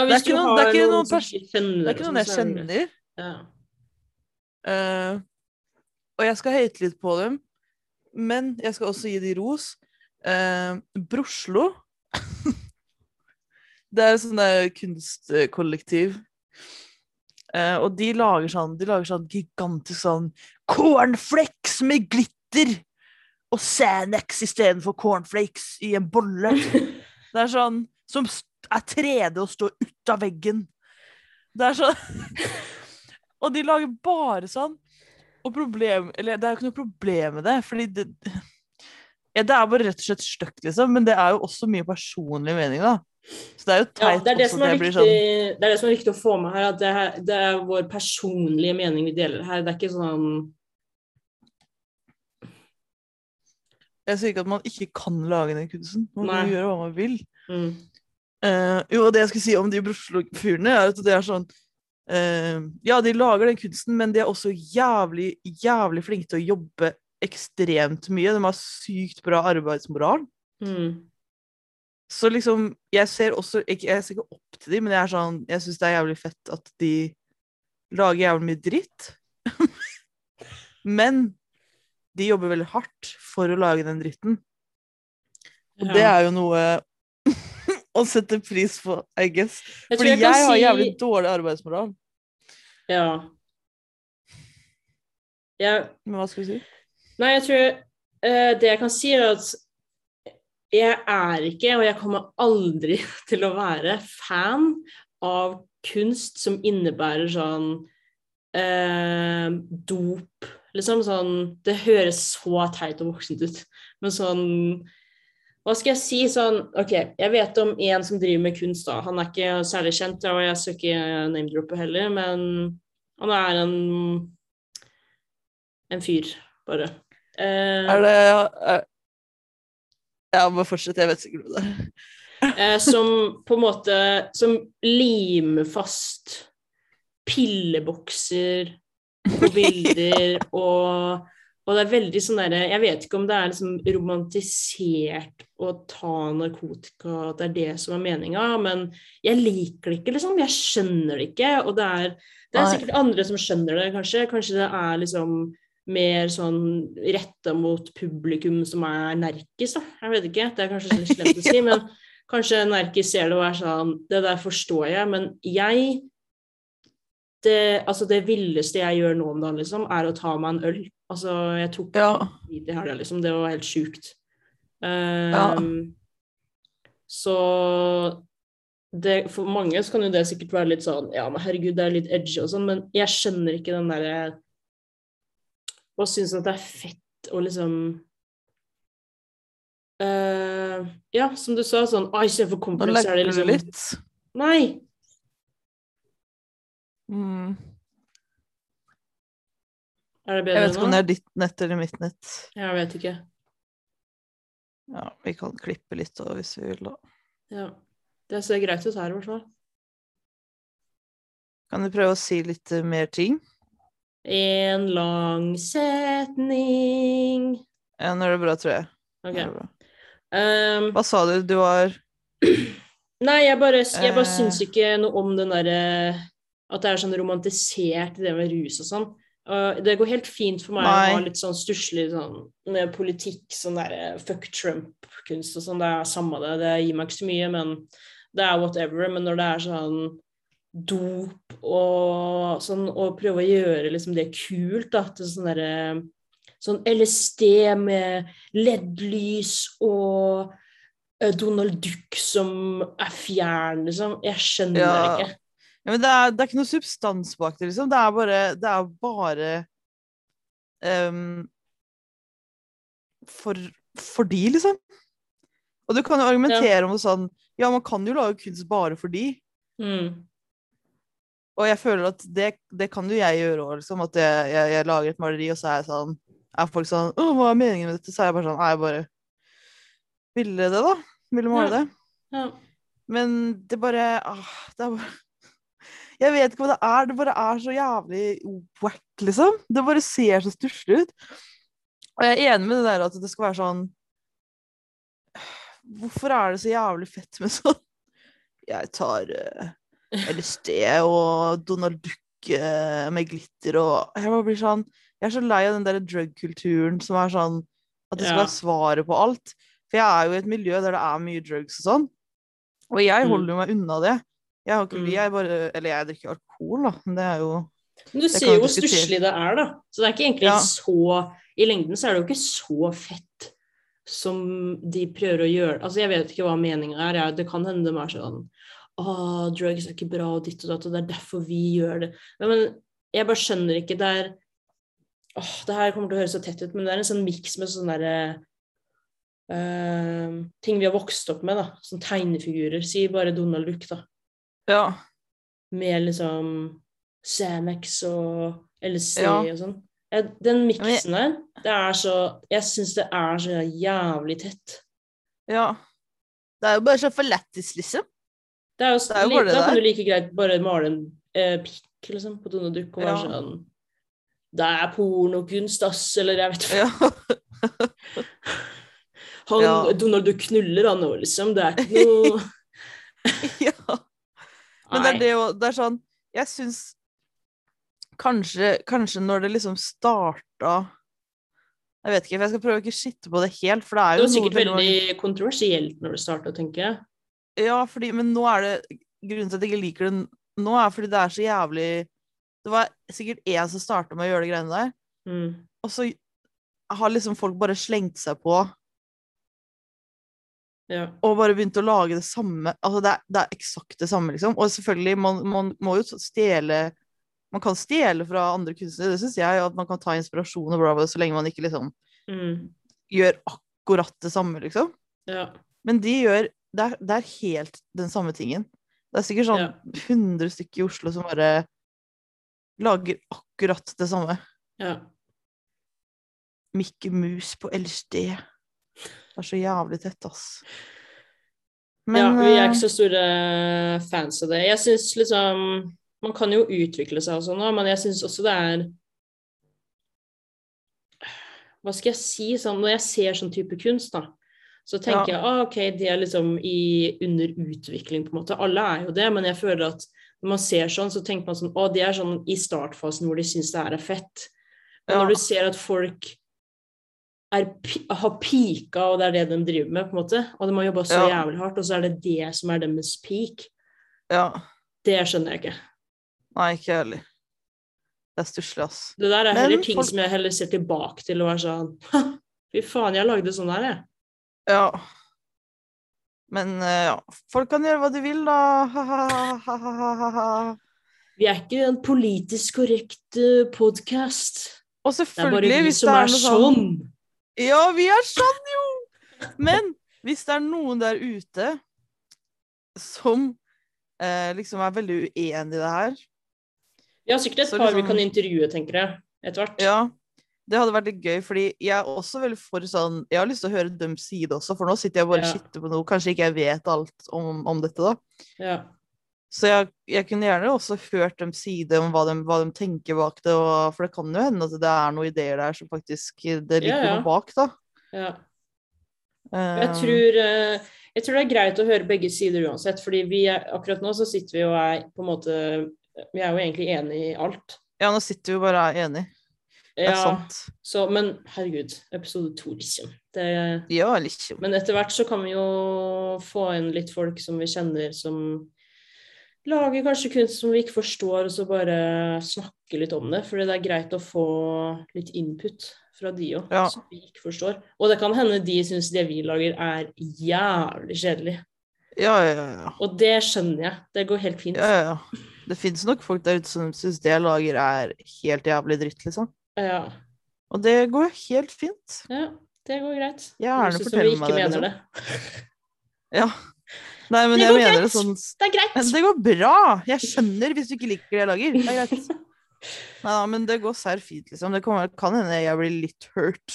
[SPEAKER 1] Det er
[SPEAKER 2] hvis
[SPEAKER 1] ikke
[SPEAKER 2] du
[SPEAKER 1] noen-
[SPEAKER 2] har
[SPEAKER 1] det er ikke
[SPEAKER 2] noen
[SPEAKER 1] noen
[SPEAKER 2] som
[SPEAKER 1] pers-
[SPEAKER 2] ikke kjenner
[SPEAKER 1] Det er ikke
[SPEAKER 2] og
[SPEAKER 1] noen jeg
[SPEAKER 2] sånn, så er det greit.
[SPEAKER 1] kjenner.
[SPEAKER 2] Ja.
[SPEAKER 1] Eh, og jeg skal høyte litt på dem, men jeg skal også gi de ros. Eh, Broslo Det er et sånt der kunstkollektiv. Eh, og de lager sånn De lager sånn gigantisk sånn cornflakes med glitter! Og Sanex istedenfor cornflakes i en bolle. Det er sånn Som st- er 3D og står ut av veggen. Det er sånn Og de lager bare sånn. Og problem Eller det er jo ikke noe problem med det, fordi det ja, Det er bare rett og slett stygt, liksom. Men det er jo også mye personlig mening, da. Så det er jo
[SPEAKER 2] Ja,
[SPEAKER 1] teit
[SPEAKER 2] det, er det,
[SPEAKER 1] også
[SPEAKER 2] som
[SPEAKER 1] at
[SPEAKER 2] er
[SPEAKER 1] jeg
[SPEAKER 2] viktig,
[SPEAKER 1] blir sånn
[SPEAKER 2] det er det som er viktig å få med her, at det, her, det er vår personlige mening vi deler her. Det er ikke sånn
[SPEAKER 1] Jeg sier ikke at man ikke kan lage den kunsten. Man kan
[SPEAKER 2] Nei.
[SPEAKER 1] gjøre hva man vil.
[SPEAKER 2] mm,
[SPEAKER 1] Eh, jo, og det jeg skulle si om de Broslo-fyrene, er at det er sånn eh, Ja, de lager den kunsten, men de er også jævlig, jævlig flinke til å jobbe ekstremt mye. De har sykt bra arbeidsmoral.
[SPEAKER 2] mm.
[SPEAKER 1] Så liksom Jeg ser også ikke, Jeg ser ikke opp til de, men jeg er sånn Jeg syns det er jævlig fett at de lager jævlig mye dritt. men de jobber veldig hardt for å lage den dritten. Og
[SPEAKER 2] Ja.
[SPEAKER 1] det er jo noe å sette pris på, I guess.
[SPEAKER 2] Jeg tror
[SPEAKER 1] Fordi
[SPEAKER 2] jeg
[SPEAKER 1] jeg,
[SPEAKER 2] kan
[SPEAKER 1] har
[SPEAKER 2] si
[SPEAKER 1] jævlig dårlig arbeidsmoral.
[SPEAKER 2] Ja. Jeg,
[SPEAKER 1] Men hva skal vi si?
[SPEAKER 2] nei, jeg tror eh, Det jeg kan si, er at jeg er ikke, og jeg kommer aldri til å være, fan av kunst som innebærer sånn eh, dop. Liksom sånn Det høres så teit og voksent ut, men sånn hva skal jeg si sånn OK, jeg vet om en som driver med kunst, da. Han er ikke særlig kjent, og jeg skal ikke name-droppe heller, men han er en en fyr, bare. Eh,
[SPEAKER 1] Er det er... Ja, bare fortsett. Jeg vet sikkert hva det er.
[SPEAKER 2] eh, som på en måte Som limer fast pillebokser på bilder og og det er veldig sånn derre Jeg vet ikke om det er liksom romantisert å ta narkotika, at det er det som er meninga, men jeg liker det ikke, liksom. Jeg skjønner det ikke. Og det er, det er
[SPEAKER 1] Nei.
[SPEAKER 2] sikkert andre som skjønner det, kanskje. Kanskje det er liksom mer sånn retta mot publikum som er nerkis, da. Jeg vet ikke. Det er kanskje så slemt å si, men kanskje nerkis ser det og er sånn Det der forstår jeg, men jeg det, altså det villeste jeg gjør nå om dagen, liksom, er å ta meg en øl. Altså, jeg tok
[SPEAKER 1] Ja.
[SPEAKER 2] dit i helga, liksom. Det var helt sjukt. Ehm,
[SPEAKER 1] Ja.
[SPEAKER 2] Så det, For mange så kan jo det sikkert være litt sånn Ja, men herregud, det er litt edgy og sånn, men jeg skjønner ikke den derre Og syns at det er fett å liksom eh, Ja, som du sa, sånn Ai, se for
[SPEAKER 1] Nå
[SPEAKER 2] kompleks er det
[SPEAKER 1] legger du
[SPEAKER 2] liksom
[SPEAKER 1] litt.
[SPEAKER 2] Nei!
[SPEAKER 1] Mm.
[SPEAKER 2] Er det
[SPEAKER 1] Jeg
[SPEAKER 2] bedre
[SPEAKER 1] vet ikke om
[SPEAKER 2] nå?
[SPEAKER 1] det er ditt nett eller mitt nett.
[SPEAKER 2] Jeg vet ikke.
[SPEAKER 1] Ja, vi kan klippe litt da, hvis vi vil. da.
[SPEAKER 2] Ja. Det ser greit ut her, i hvert fall.
[SPEAKER 1] Kan du prøve å si litt eh, mer ting?
[SPEAKER 2] En lang setning
[SPEAKER 1] Ja, nå er det bra, tror jeg. Nå
[SPEAKER 2] Ok.
[SPEAKER 1] er det bra.
[SPEAKER 2] Ehm,
[SPEAKER 1] Hva sa du? Du var
[SPEAKER 2] nei, jeg bare, jeg bare
[SPEAKER 1] Eh.
[SPEAKER 2] syns ikke noe om den derre At det er sånn romantisert, det med rus og sånn. Og det går helt fint for meg
[SPEAKER 1] Nei.
[SPEAKER 2] å ha litt sånn stusslig sånn med politikk, sånn derre fuck Trump-kunst og sånn. Det er samme det, det gir meg ikke så mye, men det er whatever. Men når det er sånn dop og sånn, og prøve å gjøre liksom det kult, da, til sånn derre Sånn LSD med LED-lys og eh, Donald Duck som er fjern, liksom. Jeg skjønner det
[SPEAKER 1] Ja.
[SPEAKER 2] ikke.
[SPEAKER 1] ja, men det, er, det er ikke noe substans bak det, liksom. Det er bare, det er bare ehm, for, fordi, liksom. Og du kan jo argumentere om det sånn Ja, man kan jo lage kunst bare fordi.
[SPEAKER 2] Mm.
[SPEAKER 1] Og jeg føler at det, det kan jo jeg gjøre òg, liksom. At jeg, jeg, jeg lager et maleri, og så er jeg sånn Er folk sånn Å, hva er meningen med dette? Så er jeg bare sånn Nei, jeg bare ville det, da. Ville male
[SPEAKER 2] Ja.
[SPEAKER 1] det.
[SPEAKER 2] Ja.
[SPEAKER 1] Men det bare ah, Det er bare Jeg vet ikke hva det er. Det bare er så jævlig wack, liksom. Det bare ser så stusslig ut. Og jeg er enig med det der at det skal være sånn Hvorfor er det så jævlig fett med sånn Jeg tar eh, LSD og Donald Duck eh, med glitter og Jeg bare blir sånn Jeg er så lei av den der drug-kulturen som er sånn at det skal
[SPEAKER 2] Ja.
[SPEAKER 1] være svaret på alt. For jeg er jo i et miljø der det er mye drugs og sånn. Og jeg
[SPEAKER 2] Mm.
[SPEAKER 1] holder jo meg unna det. Jeg har ikke,
[SPEAKER 2] Mm.
[SPEAKER 1] jeg bare, eller jeg drikker alkohol, da, men det er jo
[SPEAKER 2] Men du
[SPEAKER 1] Det
[SPEAKER 2] ser
[SPEAKER 1] kan
[SPEAKER 2] jo
[SPEAKER 1] vi
[SPEAKER 2] hvor
[SPEAKER 1] diskutere.
[SPEAKER 2] stusslig det er, da. Så det er ikke egentlig
[SPEAKER 1] Ja.
[SPEAKER 2] så I lengden så er det jo ikke så fett som de prøver å gjøre Altså, jeg vet ikke hva meninga er. Jeg- Det kan hende de er sånn Å, drugs er ikke bra, og ditt og datt, og det er derfor vi gjør det. Men, men jeg bare skjønner ikke Det er Åh, det her kommer til å høres så tett ut, men det er en sånn miks med sånn derre eh, ting vi har vokst opp med, da. Sånn tegnefigurer. Si bare Donald Duck, da
[SPEAKER 1] Ja.
[SPEAKER 2] med liksom Xanax og LSD
[SPEAKER 1] Ja.
[SPEAKER 2] og sånn. Jeg- Den
[SPEAKER 1] men jeg-
[SPEAKER 2] miksen der, det er så Jeg syns det er så jævlig tett.
[SPEAKER 1] ja. Det er jo bare så for lættis, liksom.
[SPEAKER 2] Det er jo,
[SPEAKER 1] er jo
[SPEAKER 2] li-
[SPEAKER 1] bare det
[SPEAKER 2] da kan
[SPEAKER 1] der.
[SPEAKER 2] du like greit bare male en eh, pikk liksom, på Donald Duck og være
[SPEAKER 1] Ja.
[SPEAKER 2] sånn Det er pornokunst, ass, eller jeg vet ikke.
[SPEAKER 1] Ja.
[SPEAKER 2] Han,
[SPEAKER 1] Ja.
[SPEAKER 2] Donald Duck knuller, han òg, liksom. Det er ikke noe
[SPEAKER 1] ja. Men det er det jo Det er sånn Jeg syns kanskje, kanskje når det liksom starta Jeg vet ikke, for jeg skal prøve å ikke skitte på det helt, for det er
[SPEAKER 2] Det
[SPEAKER 1] jo
[SPEAKER 2] var sikkert
[SPEAKER 1] noe veldig mange-
[SPEAKER 2] veldig kontroversielt når det starta, tenker jeg.
[SPEAKER 1] Ja, fordi, men nå er det Grunnen til at jeg ikke liker det nå, er fordi det er så jævlig Det var sikkert én som starta med å gjøre de greiene der.
[SPEAKER 2] Mm.
[SPEAKER 1] Og så har liksom folk bare slengt seg på
[SPEAKER 2] Ja.
[SPEAKER 1] og bare begynte å lage det samme. Altså det er, det er eksakt det samme, liksom. Og selvfølgelig, man, man må jo stjele Man kan stjele fra andre kunstnere, det syns jeg, at man kan ta inspirasjon og bla, bla, så lenge man ikke liksom
[SPEAKER 2] Mm.
[SPEAKER 1] gjør akkurat det samme, liksom.
[SPEAKER 2] ja.
[SPEAKER 1] Men de gjør Det er, det er helt den samme tingen. Det er sikkert sånn
[SPEAKER 2] Ja.
[SPEAKER 1] 100 stykker i Oslo som bare lager akkurat det samme.
[SPEAKER 2] ja.
[SPEAKER 1] Mikke Mus på LSD. Det er så jævlig tett, ass. Men
[SPEAKER 2] ja, vi er
[SPEAKER 1] eh,
[SPEAKER 2] ikke så store eh, fans av det. Jeg syns liksom Man kan jo utvikle seg og sånn, da, men jeg syns også det er Hva skal jeg si? Sånn, når jeg ser sånn type kunst, da, så tenker jeg ah, OK, det er liksom i, under utvikling, på en måte. Alle er jo det, men jeg føler at når man ser sånn, så tenker man sånn Å, de er sånn i startfasen hvor de syns det her er fett. Men
[SPEAKER 1] Ja.
[SPEAKER 2] når du ser at folk er, pi- har pika, og det er det de driver med, på en måte. Og de har jobba så
[SPEAKER 1] Ja.
[SPEAKER 2] jævlig hardt, og så er det det som er deres peak.
[SPEAKER 1] ja.
[SPEAKER 2] Det skjønner jeg ikke.
[SPEAKER 1] Nei, ikke jeg heller. Det er stusslig, ass.
[SPEAKER 2] Det der er
[SPEAKER 1] Men
[SPEAKER 2] heller ting
[SPEAKER 1] folk-
[SPEAKER 2] som jeg heller ser tilbake til og er sånn «Ha, Fy faen, jeg lagde sånn her, jeg.
[SPEAKER 1] Ja. Men eh, ja, folk kan gjøre hva de vil, da. Ha-ha-ha-ha-ha.
[SPEAKER 2] Vi er ikke en politisk korrekt uh, podkast.
[SPEAKER 1] Og
[SPEAKER 2] Det er bare
[SPEAKER 1] selvfølgelig,
[SPEAKER 2] vi
[SPEAKER 1] hvis det
[SPEAKER 2] som
[SPEAKER 1] er
[SPEAKER 2] er
[SPEAKER 1] noe
[SPEAKER 2] sånn.
[SPEAKER 1] sånn Ja, vi er sånn, jo! Men hvis det er noen der ute som eh, liksom er veldig uenig i det her
[SPEAKER 2] Vi har sikkert et
[SPEAKER 1] Så
[SPEAKER 2] par vi
[SPEAKER 1] liksom-
[SPEAKER 2] kan intervjue, tenker jeg. Etter hvert.
[SPEAKER 1] Ja, det hadde vært litt gøy, fordi jeg er også veldig for sånn Jeg har lyst til å høre deres side også, for nå sitter jeg og bare
[SPEAKER 2] Ja.
[SPEAKER 1] og sitter på noe. Kanskje ikke jeg vet alt om, om dette, da.
[SPEAKER 2] Ja.
[SPEAKER 1] Så jeg, jeg kunne gjerne også hørt dem si det om hva de, hva de tenker bak det, og, for det kan jo hende at det er noen ideer der som faktisk eh, det ligger
[SPEAKER 2] Ja, ja.
[SPEAKER 1] noe bak, da.
[SPEAKER 2] ja. Jeg
[SPEAKER 1] Um,
[SPEAKER 2] tror, eh, jeg tror det er greit å høre begge sider uansett, fordi vi er, akkurat nå så sitter vi og er på en måte Vi er jo egentlig enige i alt.
[SPEAKER 1] Ja, nå sitter vi jo bare og er enige. Det er
[SPEAKER 2] Ja,
[SPEAKER 1] sant.
[SPEAKER 2] så, men herregud, episode to, liksom. Det,
[SPEAKER 1] Ja, liksom.
[SPEAKER 2] men etter hvert så kan vi jo få inn litt folk som vi kjenner, som lager kanskje kunst som vi ikke forstår, og så bare snakke litt om det. Fordi det er greit å få litt input fra de òg,
[SPEAKER 1] Ja.
[SPEAKER 2] som vi ikke forstår. Og det kan hende de syns det vi lager er jævlig kjedelig.
[SPEAKER 1] Ja, ja, ja, ja.
[SPEAKER 2] Og det skjønner jeg. Det går helt fint.
[SPEAKER 1] ja, ja, ja. Det fins nok folk der ute som syns det jeg lager er helt jævlig dritt, liksom.
[SPEAKER 2] Ja,
[SPEAKER 1] Og det går jo helt fint.
[SPEAKER 2] ja det går greit.
[SPEAKER 1] Gjerne
[SPEAKER 2] Høres ut som
[SPEAKER 1] fortell
[SPEAKER 2] vi
[SPEAKER 1] meg
[SPEAKER 2] ikke
[SPEAKER 1] det, liksom.
[SPEAKER 2] mener
[SPEAKER 1] Nei, men
[SPEAKER 2] Det
[SPEAKER 1] jeg
[SPEAKER 2] går
[SPEAKER 1] mener
[SPEAKER 2] greit.
[SPEAKER 1] det sånn
[SPEAKER 2] Det er greit.
[SPEAKER 1] Men Det går bra! Jeg skjønner hvis du ikke liker det jeg lager. Det er greit. Nei da, men det går serr fint, liksom. Det kommer, kan hende jeg blir litt hurt.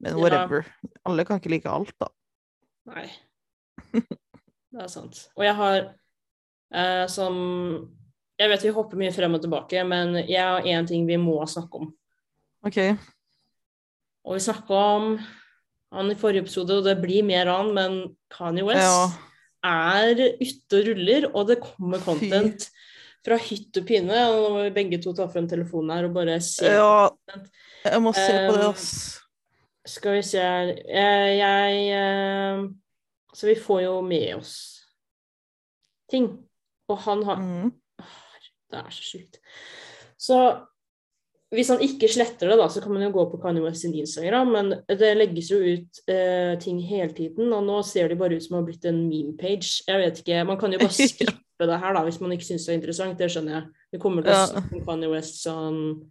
[SPEAKER 1] Men
[SPEAKER 2] Ja.
[SPEAKER 1] whatever. Alle kan ikke like alt, da.
[SPEAKER 2] Nei. Det er sant. Og jeg har eh, som Jeg vet vi hopper mye frem og tilbake, men jeg har én ting vi må snakke om.
[SPEAKER 1] OK.
[SPEAKER 2] Og vi snakka om han i forrige episode, og det blir mer av han, men Kanye West
[SPEAKER 1] Ja.
[SPEAKER 2] er ute og ruller, og det kommer content fra hytt og pinne. Og nå må vi begge to ta frem telefonen her og bare se
[SPEAKER 1] ja. Jeg må se på det,
[SPEAKER 2] Um,
[SPEAKER 1] ass.
[SPEAKER 2] Skal vi se her Eh, Jeg eh, Så vi får jo med oss ting. Og han har
[SPEAKER 1] Mm.
[SPEAKER 2] Det er så sjukt. Så hvis han ikke sletter det, da, så kan man jo gå på Kanye West sin Instagram, men det legges jo ut eh, ting hele tiden, og nå ser det bare ut som det har blitt en meme-page. Jeg vet ikke, Man kan jo bare
[SPEAKER 1] Ja.
[SPEAKER 2] skippe det her da, hvis man ikke syns det er interessant, det skjønner jeg. Vi kommer til å
[SPEAKER 1] Ja.
[SPEAKER 2] snakke om Kanye West sånn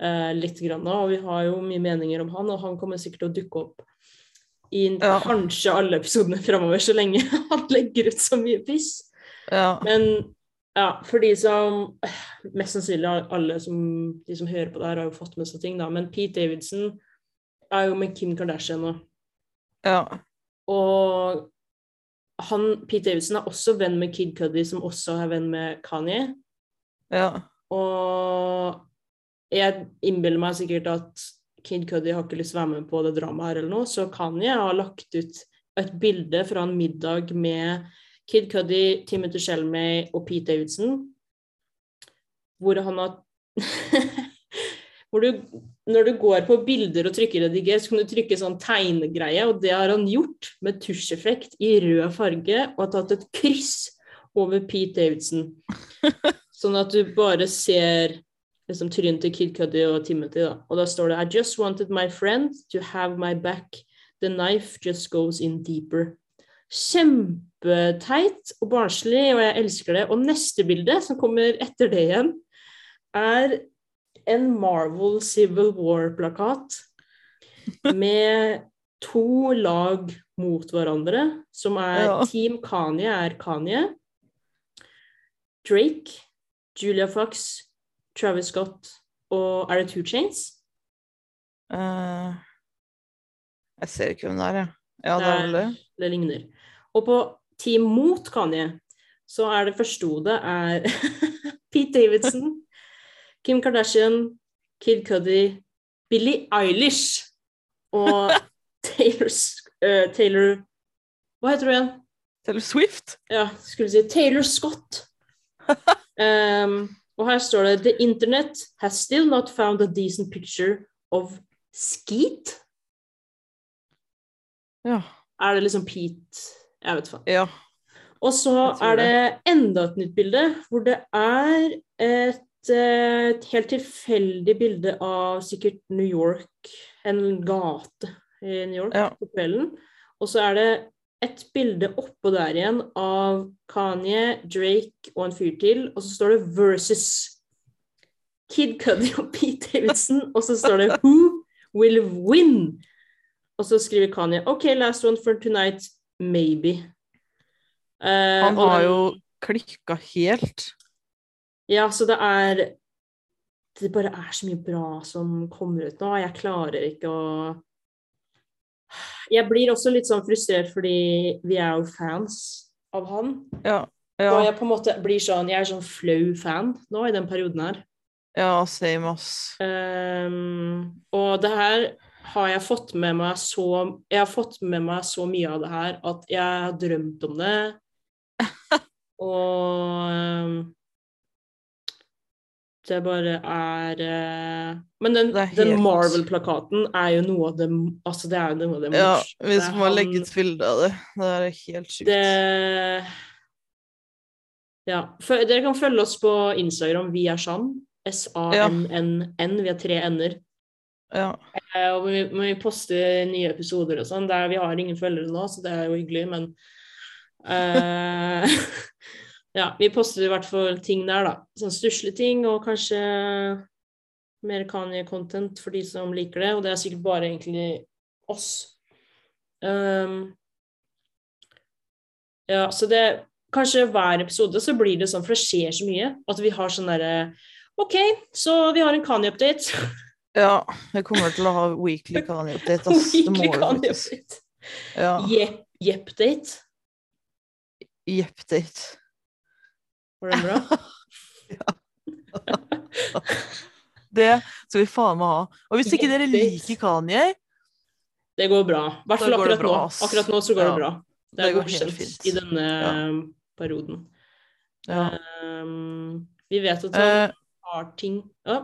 [SPEAKER 2] eh, litt grann nå, og vi har jo mye meninger om han, og han kommer sikkert til å dukke opp i
[SPEAKER 1] Ja.
[SPEAKER 2] kanskje alle episodene framover, så lenge han legger ut så mye piss.
[SPEAKER 1] Ja.
[SPEAKER 2] Men ja, for de som øh, Mest sannsynlig har alle som, de som hører på det her, har jo fått med seg ting, da. Men Pete Davidson er jo med Kim Kardashian nå.
[SPEAKER 1] ja.
[SPEAKER 2] Og han, Pete Davidson er også venn med Kid Cuddy, som også er venn med Kanye.
[SPEAKER 1] Ja.
[SPEAKER 2] Og jeg innbiller meg sikkert at Kid Cuddy har ikke lyst til å være med på det dramaet her eller noe, så Kanye har lagt ut et bilde fra en middag med Kid Cuddy, Timothy Shelmay og Pete Davidson, hvor han har hvor du, Når du går på bilder og trykker 'rediger', så kan du trykke sånn tegnegreie, og det har han gjort med tusjeffekt i rød farge og har tatt et kryss over Pete Davidson. Sånn at du bare ser liksom, trynet til Kid Cuddy og Timothy, da. Og da står det I just wanted my friend to have my back The knife just goes in deeper. Kjempeteit og barnslig, og jeg elsker det. Og neste bilde, som kommer etter det igjen, er en Marvel Civil War-plakat med to lag mot hverandre, som er
[SPEAKER 1] Ja.
[SPEAKER 2] Team Kanye er Kanye. Drake, Julia Fox, Travis Scott og Er det Two Chains?
[SPEAKER 1] Eh, jeg ser ikke hvem det er, jeg. Ja, det
[SPEAKER 2] Det
[SPEAKER 1] er vel det.
[SPEAKER 2] Det ligner. Og på team mot Kanye, så er det første hodet er Pete Davidson, Kim Kardashian, Kid Cudi, Billie Eilish og Taylor, Sc- eh, Taylor Hva heter hun igjen?
[SPEAKER 1] Taylor Swift?
[SPEAKER 2] Ja, skulle si Taylor Scott. Um, og her står det The internet has still not found a decent picture of Skeet.
[SPEAKER 1] Ja.
[SPEAKER 2] Er det liksom Pete Jeg vet faen.
[SPEAKER 1] ja.
[SPEAKER 2] Og så
[SPEAKER 1] Jeg tror
[SPEAKER 2] er det enda et nytt bilde, hvor det er et, eh, et helt tilfeldig bilde av sikkert New York, en gate i New York
[SPEAKER 1] Ja.
[SPEAKER 2] på kvelden. Og så er det et bilde oppå der igjen av Kanye, Drake og en fyr til, og så står det 'versus'. Kid Cudi og Pete Davidson, og så står det 'Who will win'? Og så skriver Kanye 'OK, last one for tonight. Maybe'. Eh,
[SPEAKER 1] Han
[SPEAKER 2] og
[SPEAKER 1] har
[SPEAKER 2] den-
[SPEAKER 1] jo klikka helt.
[SPEAKER 2] Ja, så det er Det bare er så mye bra som kommer ut nå. Jeg klarer ikke å Jeg blir også litt sånn frustrert fordi vi er jo fans av han.
[SPEAKER 1] Ja.
[SPEAKER 2] Og
[SPEAKER 1] Ja,
[SPEAKER 2] jeg på en måte blir sånn Jeg er sånn flau fan nå i den perioden her.
[SPEAKER 1] ja same, ass.
[SPEAKER 2] Ehm, og det her har jeg fått med meg så Jeg har fått med meg så mye av det her at jeg har drømt om det. Og ehm, det bare er eh, Men den,
[SPEAKER 1] Det er
[SPEAKER 2] den
[SPEAKER 1] helt-
[SPEAKER 2] Marvel-plakaten er jo noe av det Altså, det er jo noe av det
[SPEAKER 1] Ja,
[SPEAKER 2] mors-
[SPEAKER 1] vi
[SPEAKER 2] det er
[SPEAKER 1] må
[SPEAKER 2] eh, han-
[SPEAKER 1] legge ut bilde av det. Det er helt sjukt.
[SPEAKER 2] det Ja. fø- Dere kan følge oss på Instagram. Vi er sann. S-a-n-n-n. Vi har tre n-er.
[SPEAKER 1] Ja.
[SPEAKER 2] Eh, Og vi, men vi poster nye episoder og sånn. Der vi har ingen følgere nå, så det er jo hyggelig, men eh, Ja, vi poster i hvert fall ting der, da. Sånn stusslige ting og kanskje mer Kanye-content for de som liker det. Og det er sikkert bare egentlig oss. Ehm, ja, så det Kanskje hver episode så blir det sånn, for det skjer så mye, at vi har sånn derre OK, så vi har en Kanye-update.
[SPEAKER 1] Ja, jeg kommer til å ha weekly Kanye-update, ass. Det må
[SPEAKER 2] Weekly
[SPEAKER 1] du
[SPEAKER 2] Kanye
[SPEAKER 1] faktisk.
[SPEAKER 2] update.
[SPEAKER 1] Ja.
[SPEAKER 2] Jepp- Jepp-date.
[SPEAKER 1] Jepp-date.
[SPEAKER 2] Var den bra?
[SPEAKER 1] Det skal vi faen meg ha. Og hvis ikke dere
[SPEAKER 2] Jepp-date.
[SPEAKER 1] liker Kanye,
[SPEAKER 2] Det går bra. I hvert
[SPEAKER 1] Da går
[SPEAKER 2] fall
[SPEAKER 1] det
[SPEAKER 2] akkurat nå.
[SPEAKER 1] bra, ass.
[SPEAKER 2] Akkurat nå så går
[SPEAKER 1] Ja.
[SPEAKER 2] det bra. Det
[SPEAKER 1] Det går
[SPEAKER 2] er
[SPEAKER 1] helt
[SPEAKER 2] godkjent
[SPEAKER 1] fint.
[SPEAKER 2] i denne
[SPEAKER 1] Ja.
[SPEAKER 2] um, perioden.
[SPEAKER 1] ja.
[SPEAKER 2] Um, vi vet at han
[SPEAKER 1] Eh,
[SPEAKER 2] har ting ja.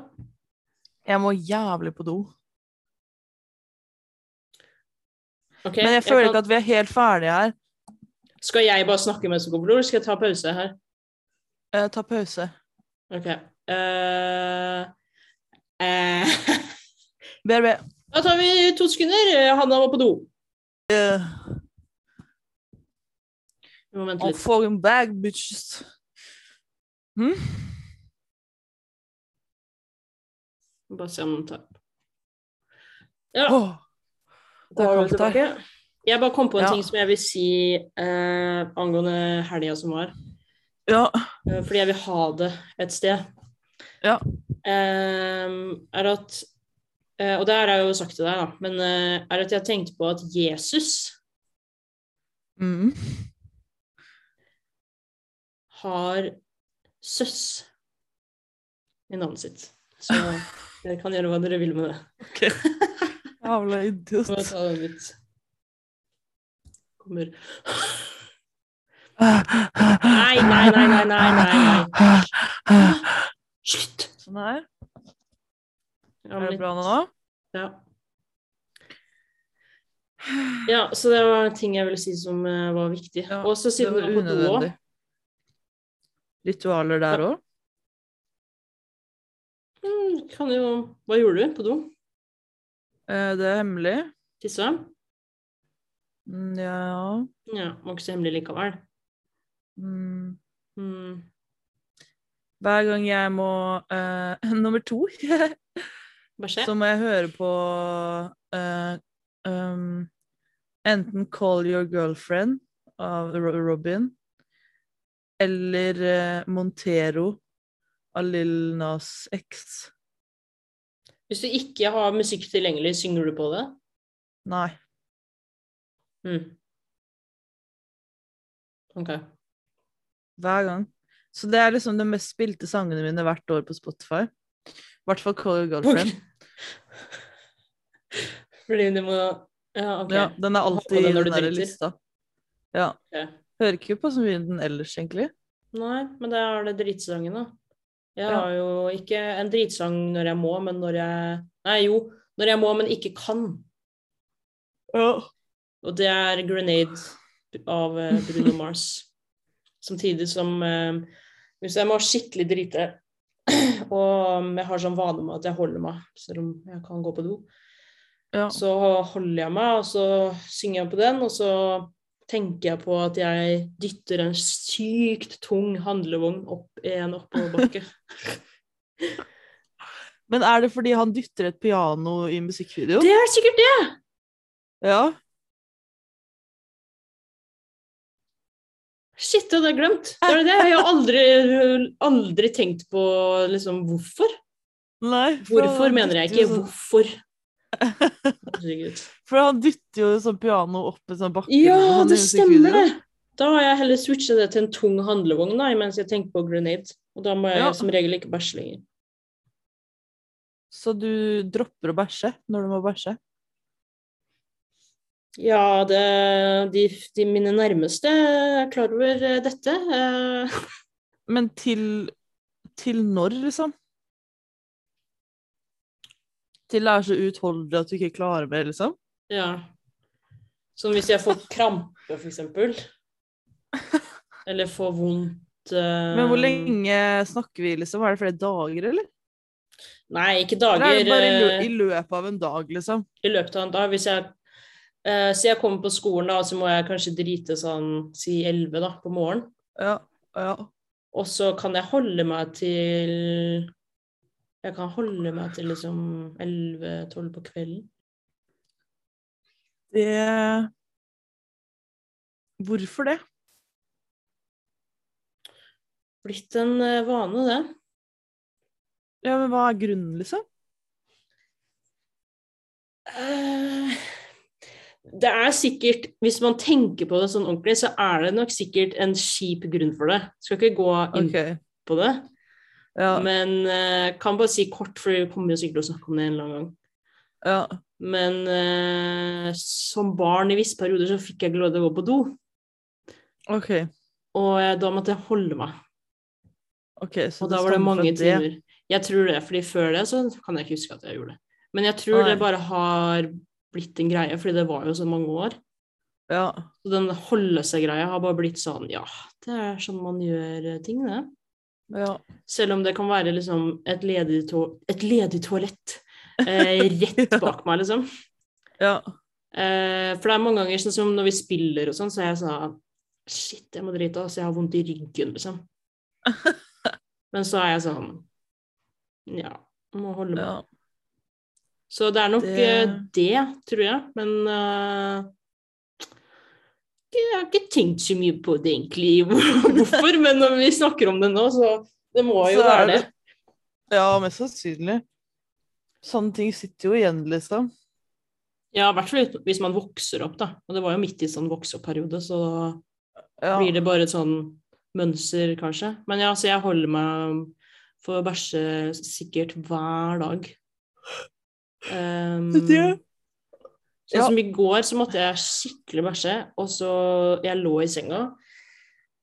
[SPEAKER 1] Jeg må jævlig på do.
[SPEAKER 2] OK.
[SPEAKER 1] Men jeg
[SPEAKER 2] jeg
[SPEAKER 1] føler
[SPEAKER 2] kan-
[SPEAKER 1] ikke at vi er helt ferdige her.
[SPEAKER 2] Skal jeg bare snakke mens du går på do, eller skal jeg ta pause her?
[SPEAKER 1] Eh, Ta pause.
[SPEAKER 2] OK. Eh, eh,
[SPEAKER 1] BRB.
[SPEAKER 2] da tar vi to sekunder. Hanna var på do.
[SPEAKER 1] Eh,
[SPEAKER 2] Vi må vente
[SPEAKER 1] I'll
[SPEAKER 2] litt.
[SPEAKER 1] fucking bag, bitches. Hm?
[SPEAKER 2] Bare se om den tar Ja.
[SPEAKER 1] Åh, det er
[SPEAKER 2] Da er vi
[SPEAKER 1] kaldt her.
[SPEAKER 2] tilbake. Jeg bare kom på en
[SPEAKER 1] Ja.
[SPEAKER 2] ting som jeg vil si eh, angående helga som var.
[SPEAKER 1] Ja.
[SPEAKER 2] eh, fordi jeg vil ha det et sted.
[SPEAKER 1] Ja.
[SPEAKER 2] Eh, er at eh, Og det her har jeg jo sagt til deg, da. Men eh, er at jeg tenkte på at Jesus
[SPEAKER 1] Mm.
[SPEAKER 2] har søss i navnet sitt. Så dere kan gjøre hva dere vil med det.
[SPEAKER 1] Jævla
[SPEAKER 2] Så må jeg
[SPEAKER 1] idiot.
[SPEAKER 2] ta den litt. Kommer. Nei, nei, nei, nei, nei, nei, nei. Slutt!
[SPEAKER 1] Sånn her.
[SPEAKER 2] Ja,
[SPEAKER 1] Er
[SPEAKER 2] men
[SPEAKER 1] det bra
[SPEAKER 2] litt-
[SPEAKER 1] nå?
[SPEAKER 2] Ja. ja, så det var ting jeg ville si som eh, var viktig.
[SPEAKER 1] Ja,
[SPEAKER 2] og så
[SPEAKER 1] Det
[SPEAKER 2] siden
[SPEAKER 1] var
[SPEAKER 2] vi var på do
[SPEAKER 1] unødvendig. Ritualer der òg?
[SPEAKER 2] mm, kan jo Hva gjorde du på do?
[SPEAKER 1] Det er Eh, hemmelig.
[SPEAKER 2] Tissa?
[SPEAKER 1] Mm, Ja
[SPEAKER 2] Ja, var ikke så hemmelig likevel.
[SPEAKER 1] mm.
[SPEAKER 2] Mm.
[SPEAKER 1] Hver gang jeg må eh, Nummer to.
[SPEAKER 2] Hva skjer?
[SPEAKER 1] Så må jeg høre på eh, um, enten Call Your Girlfriend av Ro- Robin, eller eh, Montero av Lil Nas X.
[SPEAKER 2] Hvis du ikke har musikk tilgjengelig, synger du på det?
[SPEAKER 1] Nei.
[SPEAKER 2] Mm. Ok.
[SPEAKER 1] Hver gang. Så det er liksom de mest spilte sangene mine hvert år på Spotify. I hvert fall Call Your Girlfriend.
[SPEAKER 2] Fordi du må Ja, ok.
[SPEAKER 1] Ja, den er alltid
[SPEAKER 2] på
[SPEAKER 1] i
[SPEAKER 2] den
[SPEAKER 1] den
[SPEAKER 2] når du
[SPEAKER 1] der
[SPEAKER 2] driter.
[SPEAKER 1] lista. Ja.
[SPEAKER 2] Ok.
[SPEAKER 1] Hører ikke på så mye den ellers, egentlig.
[SPEAKER 2] Nei, men det er det dritsangen, da. Jeg
[SPEAKER 1] Ja.
[SPEAKER 2] har jo ikke en dritsang når jeg må, men når jeg Nei, jo. Når jeg må, men ikke kan. Og det er 'Grenade' av eh, Bruno Mars. Samtidig som eh, Hvis jeg må skikkelig drite, og jeg har sånn vane med at jeg holder meg, selv om jeg kan gå på do,
[SPEAKER 1] Ja.
[SPEAKER 2] så holder jeg meg, og så synger jeg på den, og så tenker jeg på at jeg dytter en sykt tung handlevogn opp i en oppoverbakke.
[SPEAKER 1] Men er det fordi han dytter et piano i musikkvideo?
[SPEAKER 2] Det er sikkert det!
[SPEAKER 1] Ja.
[SPEAKER 2] Shit, det hadde jeg glemt. Det er det. det. Jeg har aldri, aldri tenkt på liksom hvorfor.
[SPEAKER 1] Nei. for
[SPEAKER 2] Hvorfor
[SPEAKER 1] han
[SPEAKER 2] mener jeg
[SPEAKER 1] dytter jo
[SPEAKER 2] ikke
[SPEAKER 1] sånn-
[SPEAKER 2] hvorfor. Herregud.
[SPEAKER 1] For han dytter jo sånn piano opp en sånn bakke. eller
[SPEAKER 2] Ja,
[SPEAKER 1] sånn i
[SPEAKER 2] det stemmer det!
[SPEAKER 1] musikkvideoen.
[SPEAKER 2] Da har jeg heller switcha det til en tung handlevogn da, mens jeg tenker på grenade. Og da må jeg
[SPEAKER 1] Ja.
[SPEAKER 2] som regel ikke bæsje lenger.
[SPEAKER 1] Så du dropper å bæsje når du må bæsje?
[SPEAKER 2] Ja, det, de, de mine nærmeste er klar over eh, dette. Eh,
[SPEAKER 1] Men til til når, liksom? Til det er så uutholdelig at du ikke klarer mer, liksom?
[SPEAKER 2] ja. Som hvis jeg får krampe, for eksempel. Eller får vondt eh,
[SPEAKER 1] Men hvor lenge snakker vi, liksom? Er det flere dager, eller?
[SPEAKER 2] Nei, ikke
[SPEAKER 1] Eller er
[SPEAKER 2] dager.
[SPEAKER 1] det bare i, lø
[SPEAKER 2] eh,
[SPEAKER 1] i løpet av en dag, liksom?
[SPEAKER 2] i løpet av en dag. Hvis jeg, eh, så jeg kommer på skolen, da, så må jeg kanskje drite sånn si 11 da, på morgenen.
[SPEAKER 1] Ja. ja.
[SPEAKER 2] Og så kan jeg holde meg til Jeg kan holde meg til liksom 11-12 på kvelden.
[SPEAKER 1] Det Hvorfor det?
[SPEAKER 2] Blitt en eh, vane, det.
[SPEAKER 1] Ja, men hva er grunnen, liksom?
[SPEAKER 2] Eh, Det er sikkert, hvis man tenker på det sånn ordentlig, så er det nok sikkert en kjip grunn for det. Skal ikke gå inn
[SPEAKER 1] Ok.
[SPEAKER 2] på det,
[SPEAKER 1] Ja.
[SPEAKER 2] men eh, kan bare si kort, for vi kommer jo sikkert til å snakke om det en eller annen gang.
[SPEAKER 1] ja.
[SPEAKER 2] Men eh, som barn i visse perioder så fikk jeg ikke lov til å gå på do,
[SPEAKER 1] Ok,
[SPEAKER 2] og jeg, da måtte jeg holde meg.
[SPEAKER 1] ok. Så
[SPEAKER 2] Og da var det
[SPEAKER 1] stammer fra
[SPEAKER 2] mange timer. Jeg tror det, fordi før det så kan jeg ikke huske at jeg gjorde det. Men jeg tror
[SPEAKER 1] Nei.
[SPEAKER 2] det bare har blitt en greie, fordi det var jo så mange år.
[SPEAKER 1] Ja.
[SPEAKER 2] Så den holde seg-greia har bare blitt sånn, ja, det er sånn man gjør eh, ting, det.
[SPEAKER 1] ja.
[SPEAKER 2] Selv om det kan være liksom et ledig, to et ledig toalett eh, rett
[SPEAKER 1] Ja.
[SPEAKER 2] bak meg, liksom.
[SPEAKER 1] ja.
[SPEAKER 2] Eh, for det er mange ganger sånn som når vi spiller og sånn, så er jeg sånn Shit, jeg må drite, altså. Jeg har vondt i ryggen, liksom. Men så er jeg sånn Ja, må holde meg.
[SPEAKER 1] ja.
[SPEAKER 2] Så det er nok
[SPEAKER 1] Det-
[SPEAKER 2] eh, det, tror jeg. Men eh, jeg har ikke tenkt så mye på det egentlig, hvorfor. Men når vi snakker om det nå, så det må jo
[SPEAKER 1] Så er
[SPEAKER 2] være det.
[SPEAKER 1] det- Ja, mest sannsynlig. Sånne ting sitter jo igjen, liksom.
[SPEAKER 2] Ja, i hvert fall ut- hvis man vokser opp, da. Og det var jo midt i sånn vokseopp-periode, så
[SPEAKER 1] Ja.
[SPEAKER 2] blir det bare et sånn mønster, kanskje. Men ja, så jeg holder meg for å bæsje sikkert hver dag. Ehm,
[SPEAKER 1] Det-
[SPEAKER 2] Sånn
[SPEAKER 1] ja.
[SPEAKER 2] som i går, så måtte jeg skikkelig bæsje, og så Jeg lå i senga,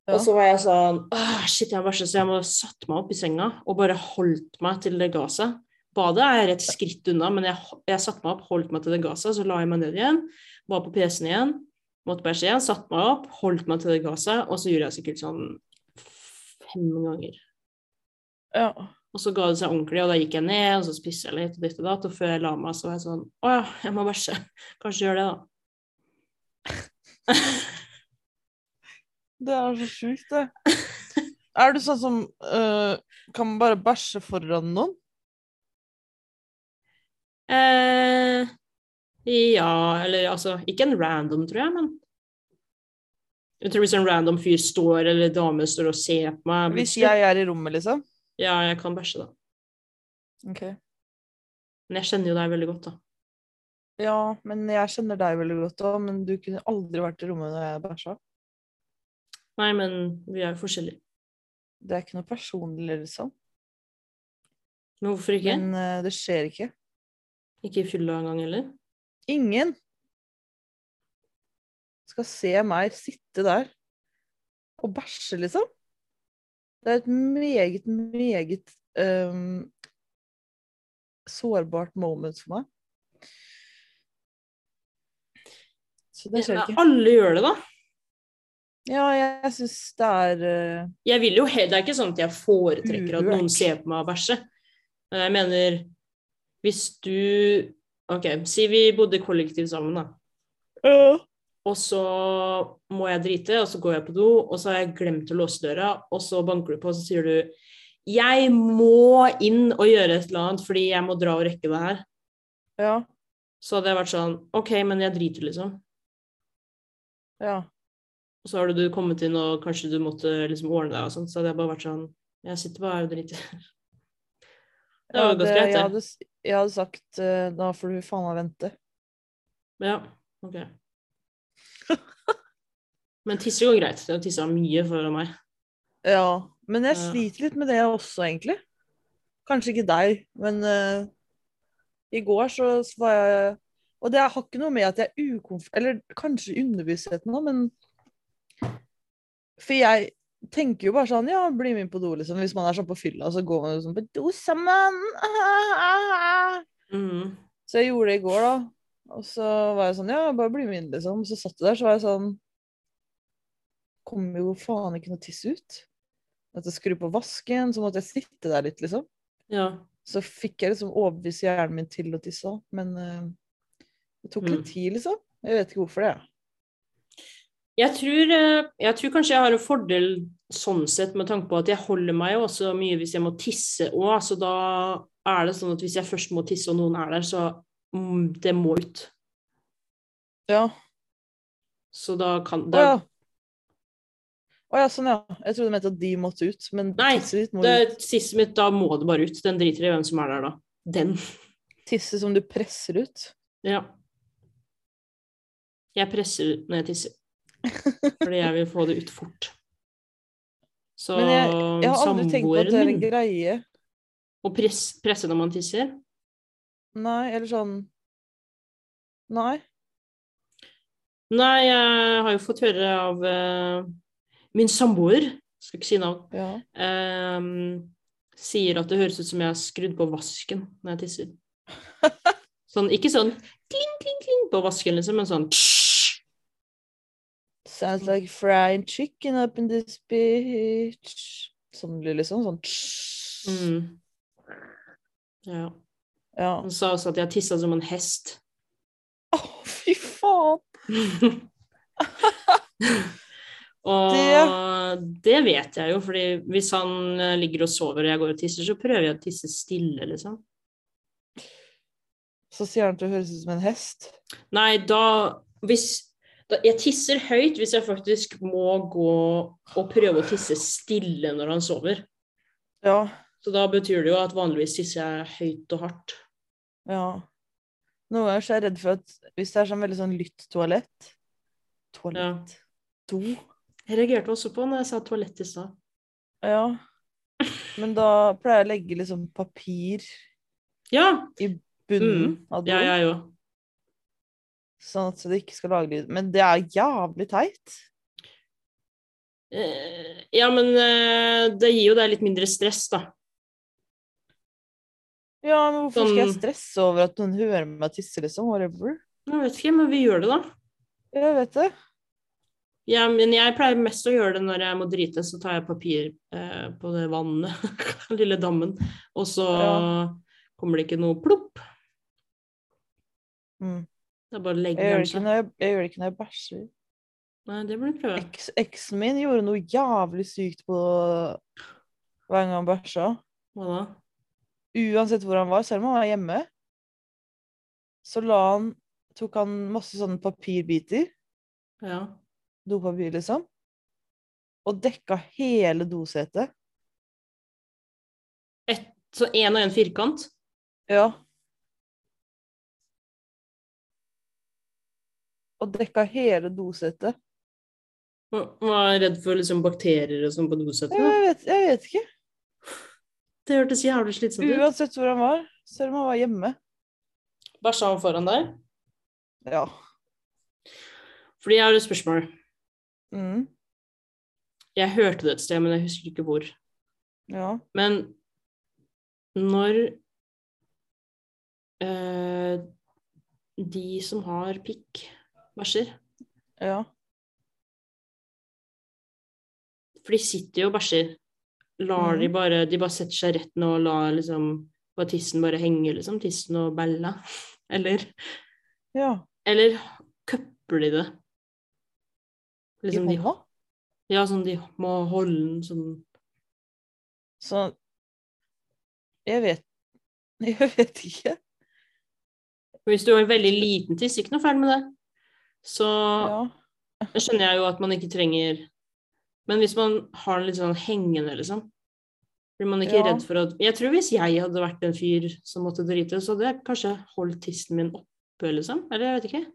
[SPEAKER 1] Ja.
[SPEAKER 2] og så var jeg sånn Åh, shit, jeg har bæsjet, så jeg må satt meg opp i senga og bare holdt meg til det ga seg. Badet er et skritt unna, men jeg, jeg satte meg opp, holdt meg til det ga seg, så la jeg meg ned igjen, var på PC-en igjen, måtte bæsje igjen, satte meg opp, holdt meg til det ga seg, og så gjorde jeg sikkert sånn fem ganger.
[SPEAKER 1] ja.
[SPEAKER 2] Og så ga det seg ordentlig, og da gikk jeg ned, og så spiste jeg litt, og ditt og datt, og før jeg la meg, så var jeg sånn Å ja, jeg må bæsje. Kanskje gjør det, da.
[SPEAKER 1] Det er så sjukt, det. Er du sånn som øh, kan man bare bæsje foran noen?
[SPEAKER 2] Eh, ja, eller altså Ikke en random, tror jeg, men Jeg tror hvis en random fyr står, eller dame står og ser på meg
[SPEAKER 1] Hvis jeg er i rommet, liksom?
[SPEAKER 2] Ja, jeg kan bæsje, da. Men jeg kjenner jo deg veldig godt, da.
[SPEAKER 1] Ja, men jeg kjenner deg veldig godt òg, men du kunne aldri vært i rommet når jeg bæsja.
[SPEAKER 2] Nei, men vi er jo forskjellige.
[SPEAKER 1] Det er ikke noe personlig, liksom.
[SPEAKER 2] Men hvorfor ikke?
[SPEAKER 1] Men øh, det skjer ikke.
[SPEAKER 2] Ikke i fylla engang heller?
[SPEAKER 1] Ingen skal se meg sitte der og bæsje, liksom. Det er et meget, meget øhm, sårbart moment for meg. Så det skjer
[SPEAKER 2] Ja,
[SPEAKER 1] ikke.
[SPEAKER 2] alle gjør det, da.
[SPEAKER 1] Ja, jeg, jeg syns det er øh,
[SPEAKER 2] Jeg vil jo he- Det er ikke sånn at jeg foretrekker at
[SPEAKER 1] Uhørt.
[SPEAKER 2] noen ser på meg og bæsjer. Men Jeg mener Hvis du OK, si vi bodde i kollektiv sammen, da. Og så må jeg drite, og så går jeg på do, og så har jeg glemt å låse døra, og så banker du på, og så sier du Jeg må inn og gjøre et eller annet, fordi jeg må dra og rekke det her.
[SPEAKER 1] Ja.
[SPEAKER 2] Så hadde jeg vært sånn OK, men jeg driter, liksom.
[SPEAKER 1] Ja.
[SPEAKER 2] Og så hadde du kommet inn, og kanskje du måtte liksom ordne deg og sånn, så hadde jeg bare vært sånn Jeg sitter bare her og driter. Det var
[SPEAKER 1] Ja,
[SPEAKER 2] jo godt greit,
[SPEAKER 1] jeg,
[SPEAKER 2] det.
[SPEAKER 1] hadde, s- jeg hadde sagt øh, da får du faen meg vente.
[SPEAKER 2] Ja, ok. Men tisser går greit. Jeg har tissa mye for meg.
[SPEAKER 1] Ja. Men jeg
[SPEAKER 2] Ja.
[SPEAKER 1] sliter litt med det også, egentlig. Kanskje ikke deg, men øh, i går så s- var jeg Og det har ikke noe med at jeg er ukomfortabel Eller kanskje underbevisstheten nå, men For jeg tenker jo bare sånn Ja, bli med inn på do, liksom. Hvis man er sånn på fylla, så går man jo sånn på do sammen. Ah,
[SPEAKER 2] Mhm.
[SPEAKER 1] Så jeg gjorde det i går, da. Og så var jeg sånn Ja, bare bli med inn, liksom. Så satt jeg der, så var jeg sånn Kommer jo faen ikke noe tiss ut. At jeg skrur på vasken, så måtte jeg sitte der litt, liksom.
[SPEAKER 2] Ja.
[SPEAKER 1] Så fikk jeg liksom overbevist hjernen min til å tisse, da. men eh, det tok litt
[SPEAKER 2] Mm.
[SPEAKER 1] tid, liksom. Jeg vet ikke hvorfor det. jeg.
[SPEAKER 2] Jeg tror, eh, jeg tror kanskje jeg har en fordel sånn sett, med tanke på at jeg holder meg jo også mye hvis jeg må tisse òg. Så da er det sånn at hvis jeg først må tisse, og noen er der, så mm, det må ut.
[SPEAKER 1] Ja.
[SPEAKER 2] Så da kan
[SPEAKER 1] Å
[SPEAKER 2] da,
[SPEAKER 1] ja. Å ja, sånn ja. Jeg trodde du mente at de måtte ut, men
[SPEAKER 2] Nei,
[SPEAKER 1] tisset ditt må
[SPEAKER 2] det,
[SPEAKER 1] jo
[SPEAKER 2] Tisset mitt, da må det bare ut. Den driter i hvem som er der da. Den.
[SPEAKER 1] tisse som du presser ut.
[SPEAKER 2] Ja. Jeg presser ut når jeg tisser. Fordi jeg vil få det ut fort. Så
[SPEAKER 1] Men Jeg har aldri tenkt på at det er
[SPEAKER 2] samboeren
[SPEAKER 1] en
[SPEAKER 2] min
[SPEAKER 1] greie.
[SPEAKER 2] Å press, presse når man tisser
[SPEAKER 1] Nei, eller sånn Nei.
[SPEAKER 2] Nei, jeg har jo fått høre av eh, min samboer, skal ikke si navn,
[SPEAKER 1] Ja.
[SPEAKER 2] ehm, sier at det høres ut som jeg har skrudd på vasken når jeg tisser. Sånn, ikke sånn kling, kling, kling på vasken, liksom, men sånn
[SPEAKER 1] Sounds like frying chicken up in this bitch. Sånn blir liksom sånn tss.
[SPEAKER 2] mm. Ja.
[SPEAKER 1] Ja.
[SPEAKER 2] Han sa også at jeg tissa som en hest.
[SPEAKER 1] Å, fy faen!
[SPEAKER 2] og det...
[SPEAKER 1] Det-
[SPEAKER 2] vet jeg jo, fordi hvis han eh, ligger og sover og jeg går og tisser, så prøver jeg å tisse stille, liksom.
[SPEAKER 1] Så sier han at det høres ut som en hest.
[SPEAKER 2] Nei, da Hvis da, Jeg tisser høyt hvis jeg faktisk må gå og prøve å tisse stille når han sover.
[SPEAKER 1] Ja.
[SPEAKER 2] Så da betyr det jo at vanligvis tisser jeg høyt og hardt.
[SPEAKER 1] ja. Noen ganger så er jeg redd for at hvis det er sånn veldig sånn lytt toalett Toalett. Do.
[SPEAKER 2] Jeg reagerte også på når jeg sa toalett i stad.
[SPEAKER 1] Ja. Men da pleier jeg å legge liksom papir
[SPEAKER 2] Ja,
[SPEAKER 1] bunnen av
[SPEAKER 2] ja,
[SPEAKER 1] doen,
[SPEAKER 2] jeg òg.
[SPEAKER 1] sånn at det ikke skal lage lyd. Men det er jævlig teit.
[SPEAKER 2] Eh, Ja, men eh, det gir jo deg litt mindre stress, da.
[SPEAKER 1] Ja, men hvorfor skal jeg
[SPEAKER 2] Sånn-
[SPEAKER 1] stresse over at noen hører meg tisse, liksom? Whatever.
[SPEAKER 2] Jeg vet ikke, men vi gjør det, da.
[SPEAKER 1] Jeg vet det.
[SPEAKER 2] Ja, men jeg pleier mest å gjøre det når jeg må drite, så tar jeg papir eh, på det vannet, den lille dammen, og så
[SPEAKER 1] Ja.
[SPEAKER 2] kommer det ikke noe plopp.
[SPEAKER 1] Mm.
[SPEAKER 2] Det er bare å legge
[SPEAKER 1] Jeg, gjør
[SPEAKER 2] den
[SPEAKER 1] det Mm. ikke
[SPEAKER 2] seg.
[SPEAKER 1] når jeg, jeg gjør det ikke når jeg bæsjer.
[SPEAKER 2] Nei, det burde du prøve.
[SPEAKER 1] Eks, eksen min gjorde noe jævlig sykt på hver gang han bæsja.
[SPEAKER 2] Hva da?
[SPEAKER 1] Uansett hvor han var, selv om han var hjemme, så la han Tok han masse sånne papirbiter,
[SPEAKER 2] Ja.
[SPEAKER 1] dopapir liksom, og dekka hele dosetet.
[SPEAKER 2] Så én og én firkant?
[SPEAKER 1] Ja. Og dekka hele dosetet.
[SPEAKER 2] Man var redd for liksom bakterier og sånn på dosetet?
[SPEAKER 1] Jeg vet, jeg vet ikke.
[SPEAKER 2] Det hørtes jævlig slitsomt ut.
[SPEAKER 1] Uansett hvor han var, selv om han var hjemme.
[SPEAKER 2] Bæsja han foran deg?
[SPEAKER 1] Ja.
[SPEAKER 2] Fordi jeg har et spørsmål.
[SPEAKER 1] Mm.
[SPEAKER 2] Jeg hørte det et sted, men jeg husker ikke hvor.
[SPEAKER 1] Ja.
[SPEAKER 2] Men når eh, de som har pikk, bæsjer
[SPEAKER 1] Ja.
[SPEAKER 2] For de sitter jo og bæsjer. Lar
[SPEAKER 1] Mhm.
[SPEAKER 2] de bare De bare setter seg rett ned og lar liksom bare tissen bare henge, liksom. Tissen og bella. Eller
[SPEAKER 1] ja.
[SPEAKER 2] Eller køpper de det?
[SPEAKER 1] I
[SPEAKER 2] Liksom de
[SPEAKER 1] hånda?
[SPEAKER 2] Ja, sånn de må holde den sånn
[SPEAKER 1] Så Jeg vet Jeg vet ikke.
[SPEAKER 2] Hvis du har veldig liten tiss, ikke noe feil med det. Så
[SPEAKER 1] Ja.
[SPEAKER 2] Det skjønner jeg jo at man ikke trenger Men hvis man har den litt sånn hengende, liksom Blir man ikke
[SPEAKER 1] Ja.
[SPEAKER 2] redd for at Jeg tror hvis jeg hadde vært en fyr som måtte drite, så hadde jeg kanskje holdt tissen min oppe, liksom. Eller jeg vet ikke.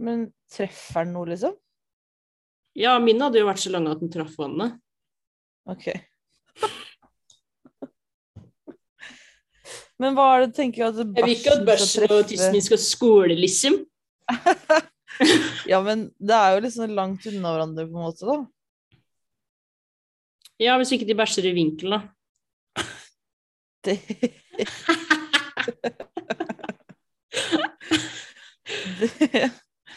[SPEAKER 1] Men treffer den noe, liksom?
[SPEAKER 2] Ja, min hadde jo vært så lang at den traff vannet.
[SPEAKER 1] OK. Men hva er det du tenker at
[SPEAKER 2] Jeg vil ikke at bæsjen og tissen min skal skåle, liksom.
[SPEAKER 1] Ja, men det er jo liksom langt unna hverandre, på en måte, da.
[SPEAKER 2] Ja, hvis ikke de bæsjer i vinkel, da.
[SPEAKER 1] Det, det,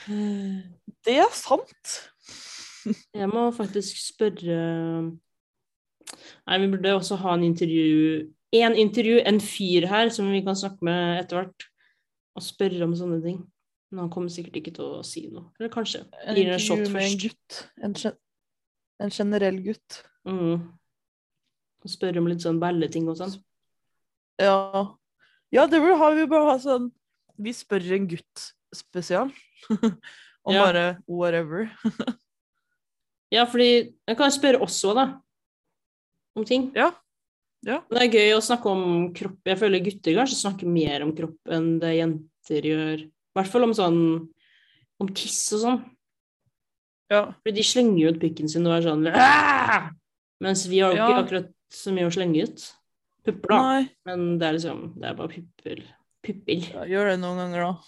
[SPEAKER 2] Mm.
[SPEAKER 1] det er sant.
[SPEAKER 2] Jeg må faktisk spørre Nei, vi burde også ha en intervju En intervju, en fyr her som vi kan snakke med etter hvert, og spørre om sånne ting. Men han kommer sikkert ikke til å si noe. Eller kanskje.
[SPEAKER 1] En
[SPEAKER 2] Gir det en shot
[SPEAKER 1] intervju med en
[SPEAKER 2] først.
[SPEAKER 1] gutt. En, gen en generell gutt.
[SPEAKER 2] Mm. Og spørre om litt sånn balleting og sånn.
[SPEAKER 1] Ja. Ja, det burde- har vi bare ha sånn Vi spør en gutt spesial. Om
[SPEAKER 2] Ja.
[SPEAKER 1] bare whatever.
[SPEAKER 2] Ja, fordi Jeg kan spørre oss òg, da. Om ting.
[SPEAKER 1] Ja. Ja.
[SPEAKER 2] Men Det er gøy å snakke om kropp. Jeg føler gutter kanskje snakker mer om kropp enn det jenter gjør. I hvert fall om sånn Om tiss og sånn.
[SPEAKER 1] Ja.
[SPEAKER 2] Fordi de slenger jo ut pikken sin og er sånn «Aah!» Mens vi har jo ikke
[SPEAKER 1] Ja.
[SPEAKER 2] akkurat så mye å slenge ut. Pupper, da.
[SPEAKER 1] Nei.
[SPEAKER 2] Men det er liksom Det er bare pupper. Pupper.
[SPEAKER 1] Ja, gjør det noen ganger, da.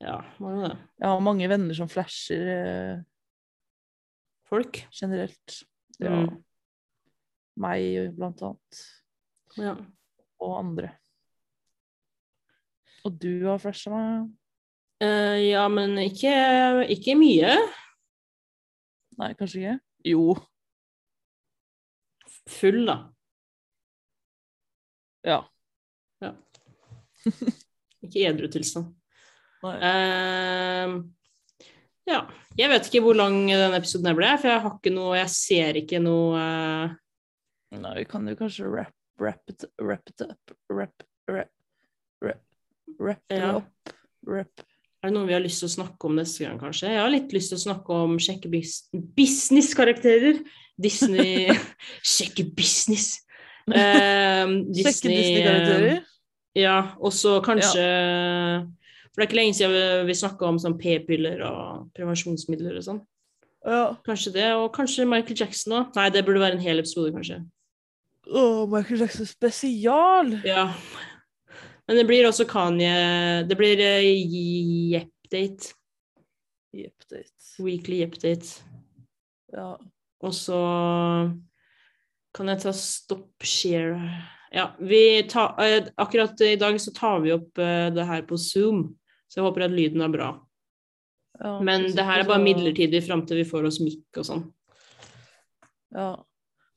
[SPEAKER 2] Ja, var det det?
[SPEAKER 1] Jeg har mange venner som flasher eh,
[SPEAKER 2] Folk.
[SPEAKER 1] generelt. Ja.
[SPEAKER 2] Mm.
[SPEAKER 1] Meg, blant annet.
[SPEAKER 2] Ja.
[SPEAKER 1] Og andre. Og du har flasha meg.
[SPEAKER 2] Eh, ja, men ikke, ikke mye.
[SPEAKER 1] Nei, kanskje ikke? Jo.
[SPEAKER 2] Full, da.
[SPEAKER 1] Ja.
[SPEAKER 2] ja. ikke edru tilstand.
[SPEAKER 1] Nei.
[SPEAKER 2] Ehm, ja. Jeg vet ikke hvor lang denne episoden her ble, for jeg har ikke noe Jeg ser ikke noe eh,
[SPEAKER 1] Nei, vi kan jo kanskje wrap, wrap it, wrap it up, wrap, wrap, wrap, wrap it
[SPEAKER 2] Ja.
[SPEAKER 1] up, wrap.
[SPEAKER 2] Er det noe vi har lyst til å snakke om neste gang, kanskje? Jeg har litt lyst til å snakke om sjekke bus business-karakterer. Disney Sjekke business! Ehm,
[SPEAKER 1] Sjekke
[SPEAKER 2] Disney, eh,
[SPEAKER 1] Disney-karakterer.
[SPEAKER 2] Ja, og så kanskje For det er ikke lenge siden vi- vi snakka om sånn p-piller og prevensjonsmidler og sånn.
[SPEAKER 1] Ja.
[SPEAKER 2] Kanskje det, og kanskje Michael Jackson òg. Nei, det burde være en hel episode, kanskje.
[SPEAKER 1] Åh, Michael Jackson spesial!
[SPEAKER 2] Ja. Men det blir også Kanye Det blir eh, Yepp-date.
[SPEAKER 1] Jepp, date.
[SPEAKER 2] Weekly Yepp-date.
[SPEAKER 1] Ja.
[SPEAKER 2] Og så kan jeg ta stopp share Ja, vi tar eh, Akkurat i dag så tar vi opp eh, det her på Zoom, så jeg håper at lyden er bra.
[SPEAKER 1] ja.
[SPEAKER 2] Men
[SPEAKER 1] Hvis
[SPEAKER 2] det her
[SPEAKER 1] ikke
[SPEAKER 2] er bare
[SPEAKER 1] så-
[SPEAKER 2] midlertidig fram til vi får oss mikk og sånn.
[SPEAKER 1] Ja.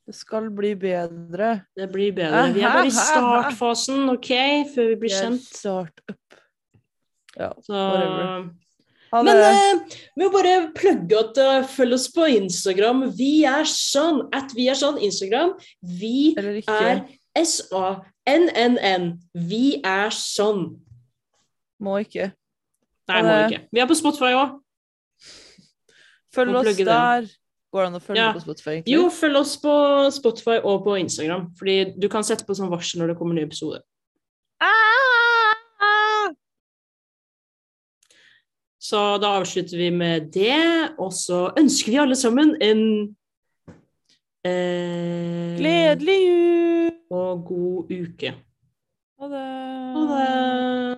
[SPEAKER 1] Det skal bli bedre.
[SPEAKER 2] Det blir bedre. Vi er bare i startfasen, OK, før vi blir
[SPEAKER 1] Jeg
[SPEAKER 2] kjent.
[SPEAKER 1] Start up. Ja.
[SPEAKER 2] Så
[SPEAKER 1] whatever. Ha det.
[SPEAKER 2] Men eh, vi må bare plugge at eh, følg oss på Instagram. Vi er sånn at vi er sånn Instagram. Vi
[SPEAKER 1] Eller ikke.
[SPEAKER 2] er S-A-N-N-N. Vi er sånn.
[SPEAKER 1] Må ikke.
[SPEAKER 2] Nei, må
[SPEAKER 1] Ha det.
[SPEAKER 2] ikke. Vi er på Spotify òg.
[SPEAKER 1] Følg
[SPEAKER 2] Må
[SPEAKER 1] oss
[SPEAKER 2] plugge det.
[SPEAKER 1] der. Går det an å følge
[SPEAKER 2] Ja.
[SPEAKER 1] på Spotify? egentlig?
[SPEAKER 2] Jo, følg oss på Spotify og på Instagram. Fordi du kan sette på sånn varsel når det kommer nye episoder.
[SPEAKER 1] Ah!
[SPEAKER 2] Så da avslutter vi med det, og så ønsker vi alle sammen en eh,
[SPEAKER 1] Gledelig jul!
[SPEAKER 2] og god uke.
[SPEAKER 1] Ha det.
[SPEAKER 2] Ha det.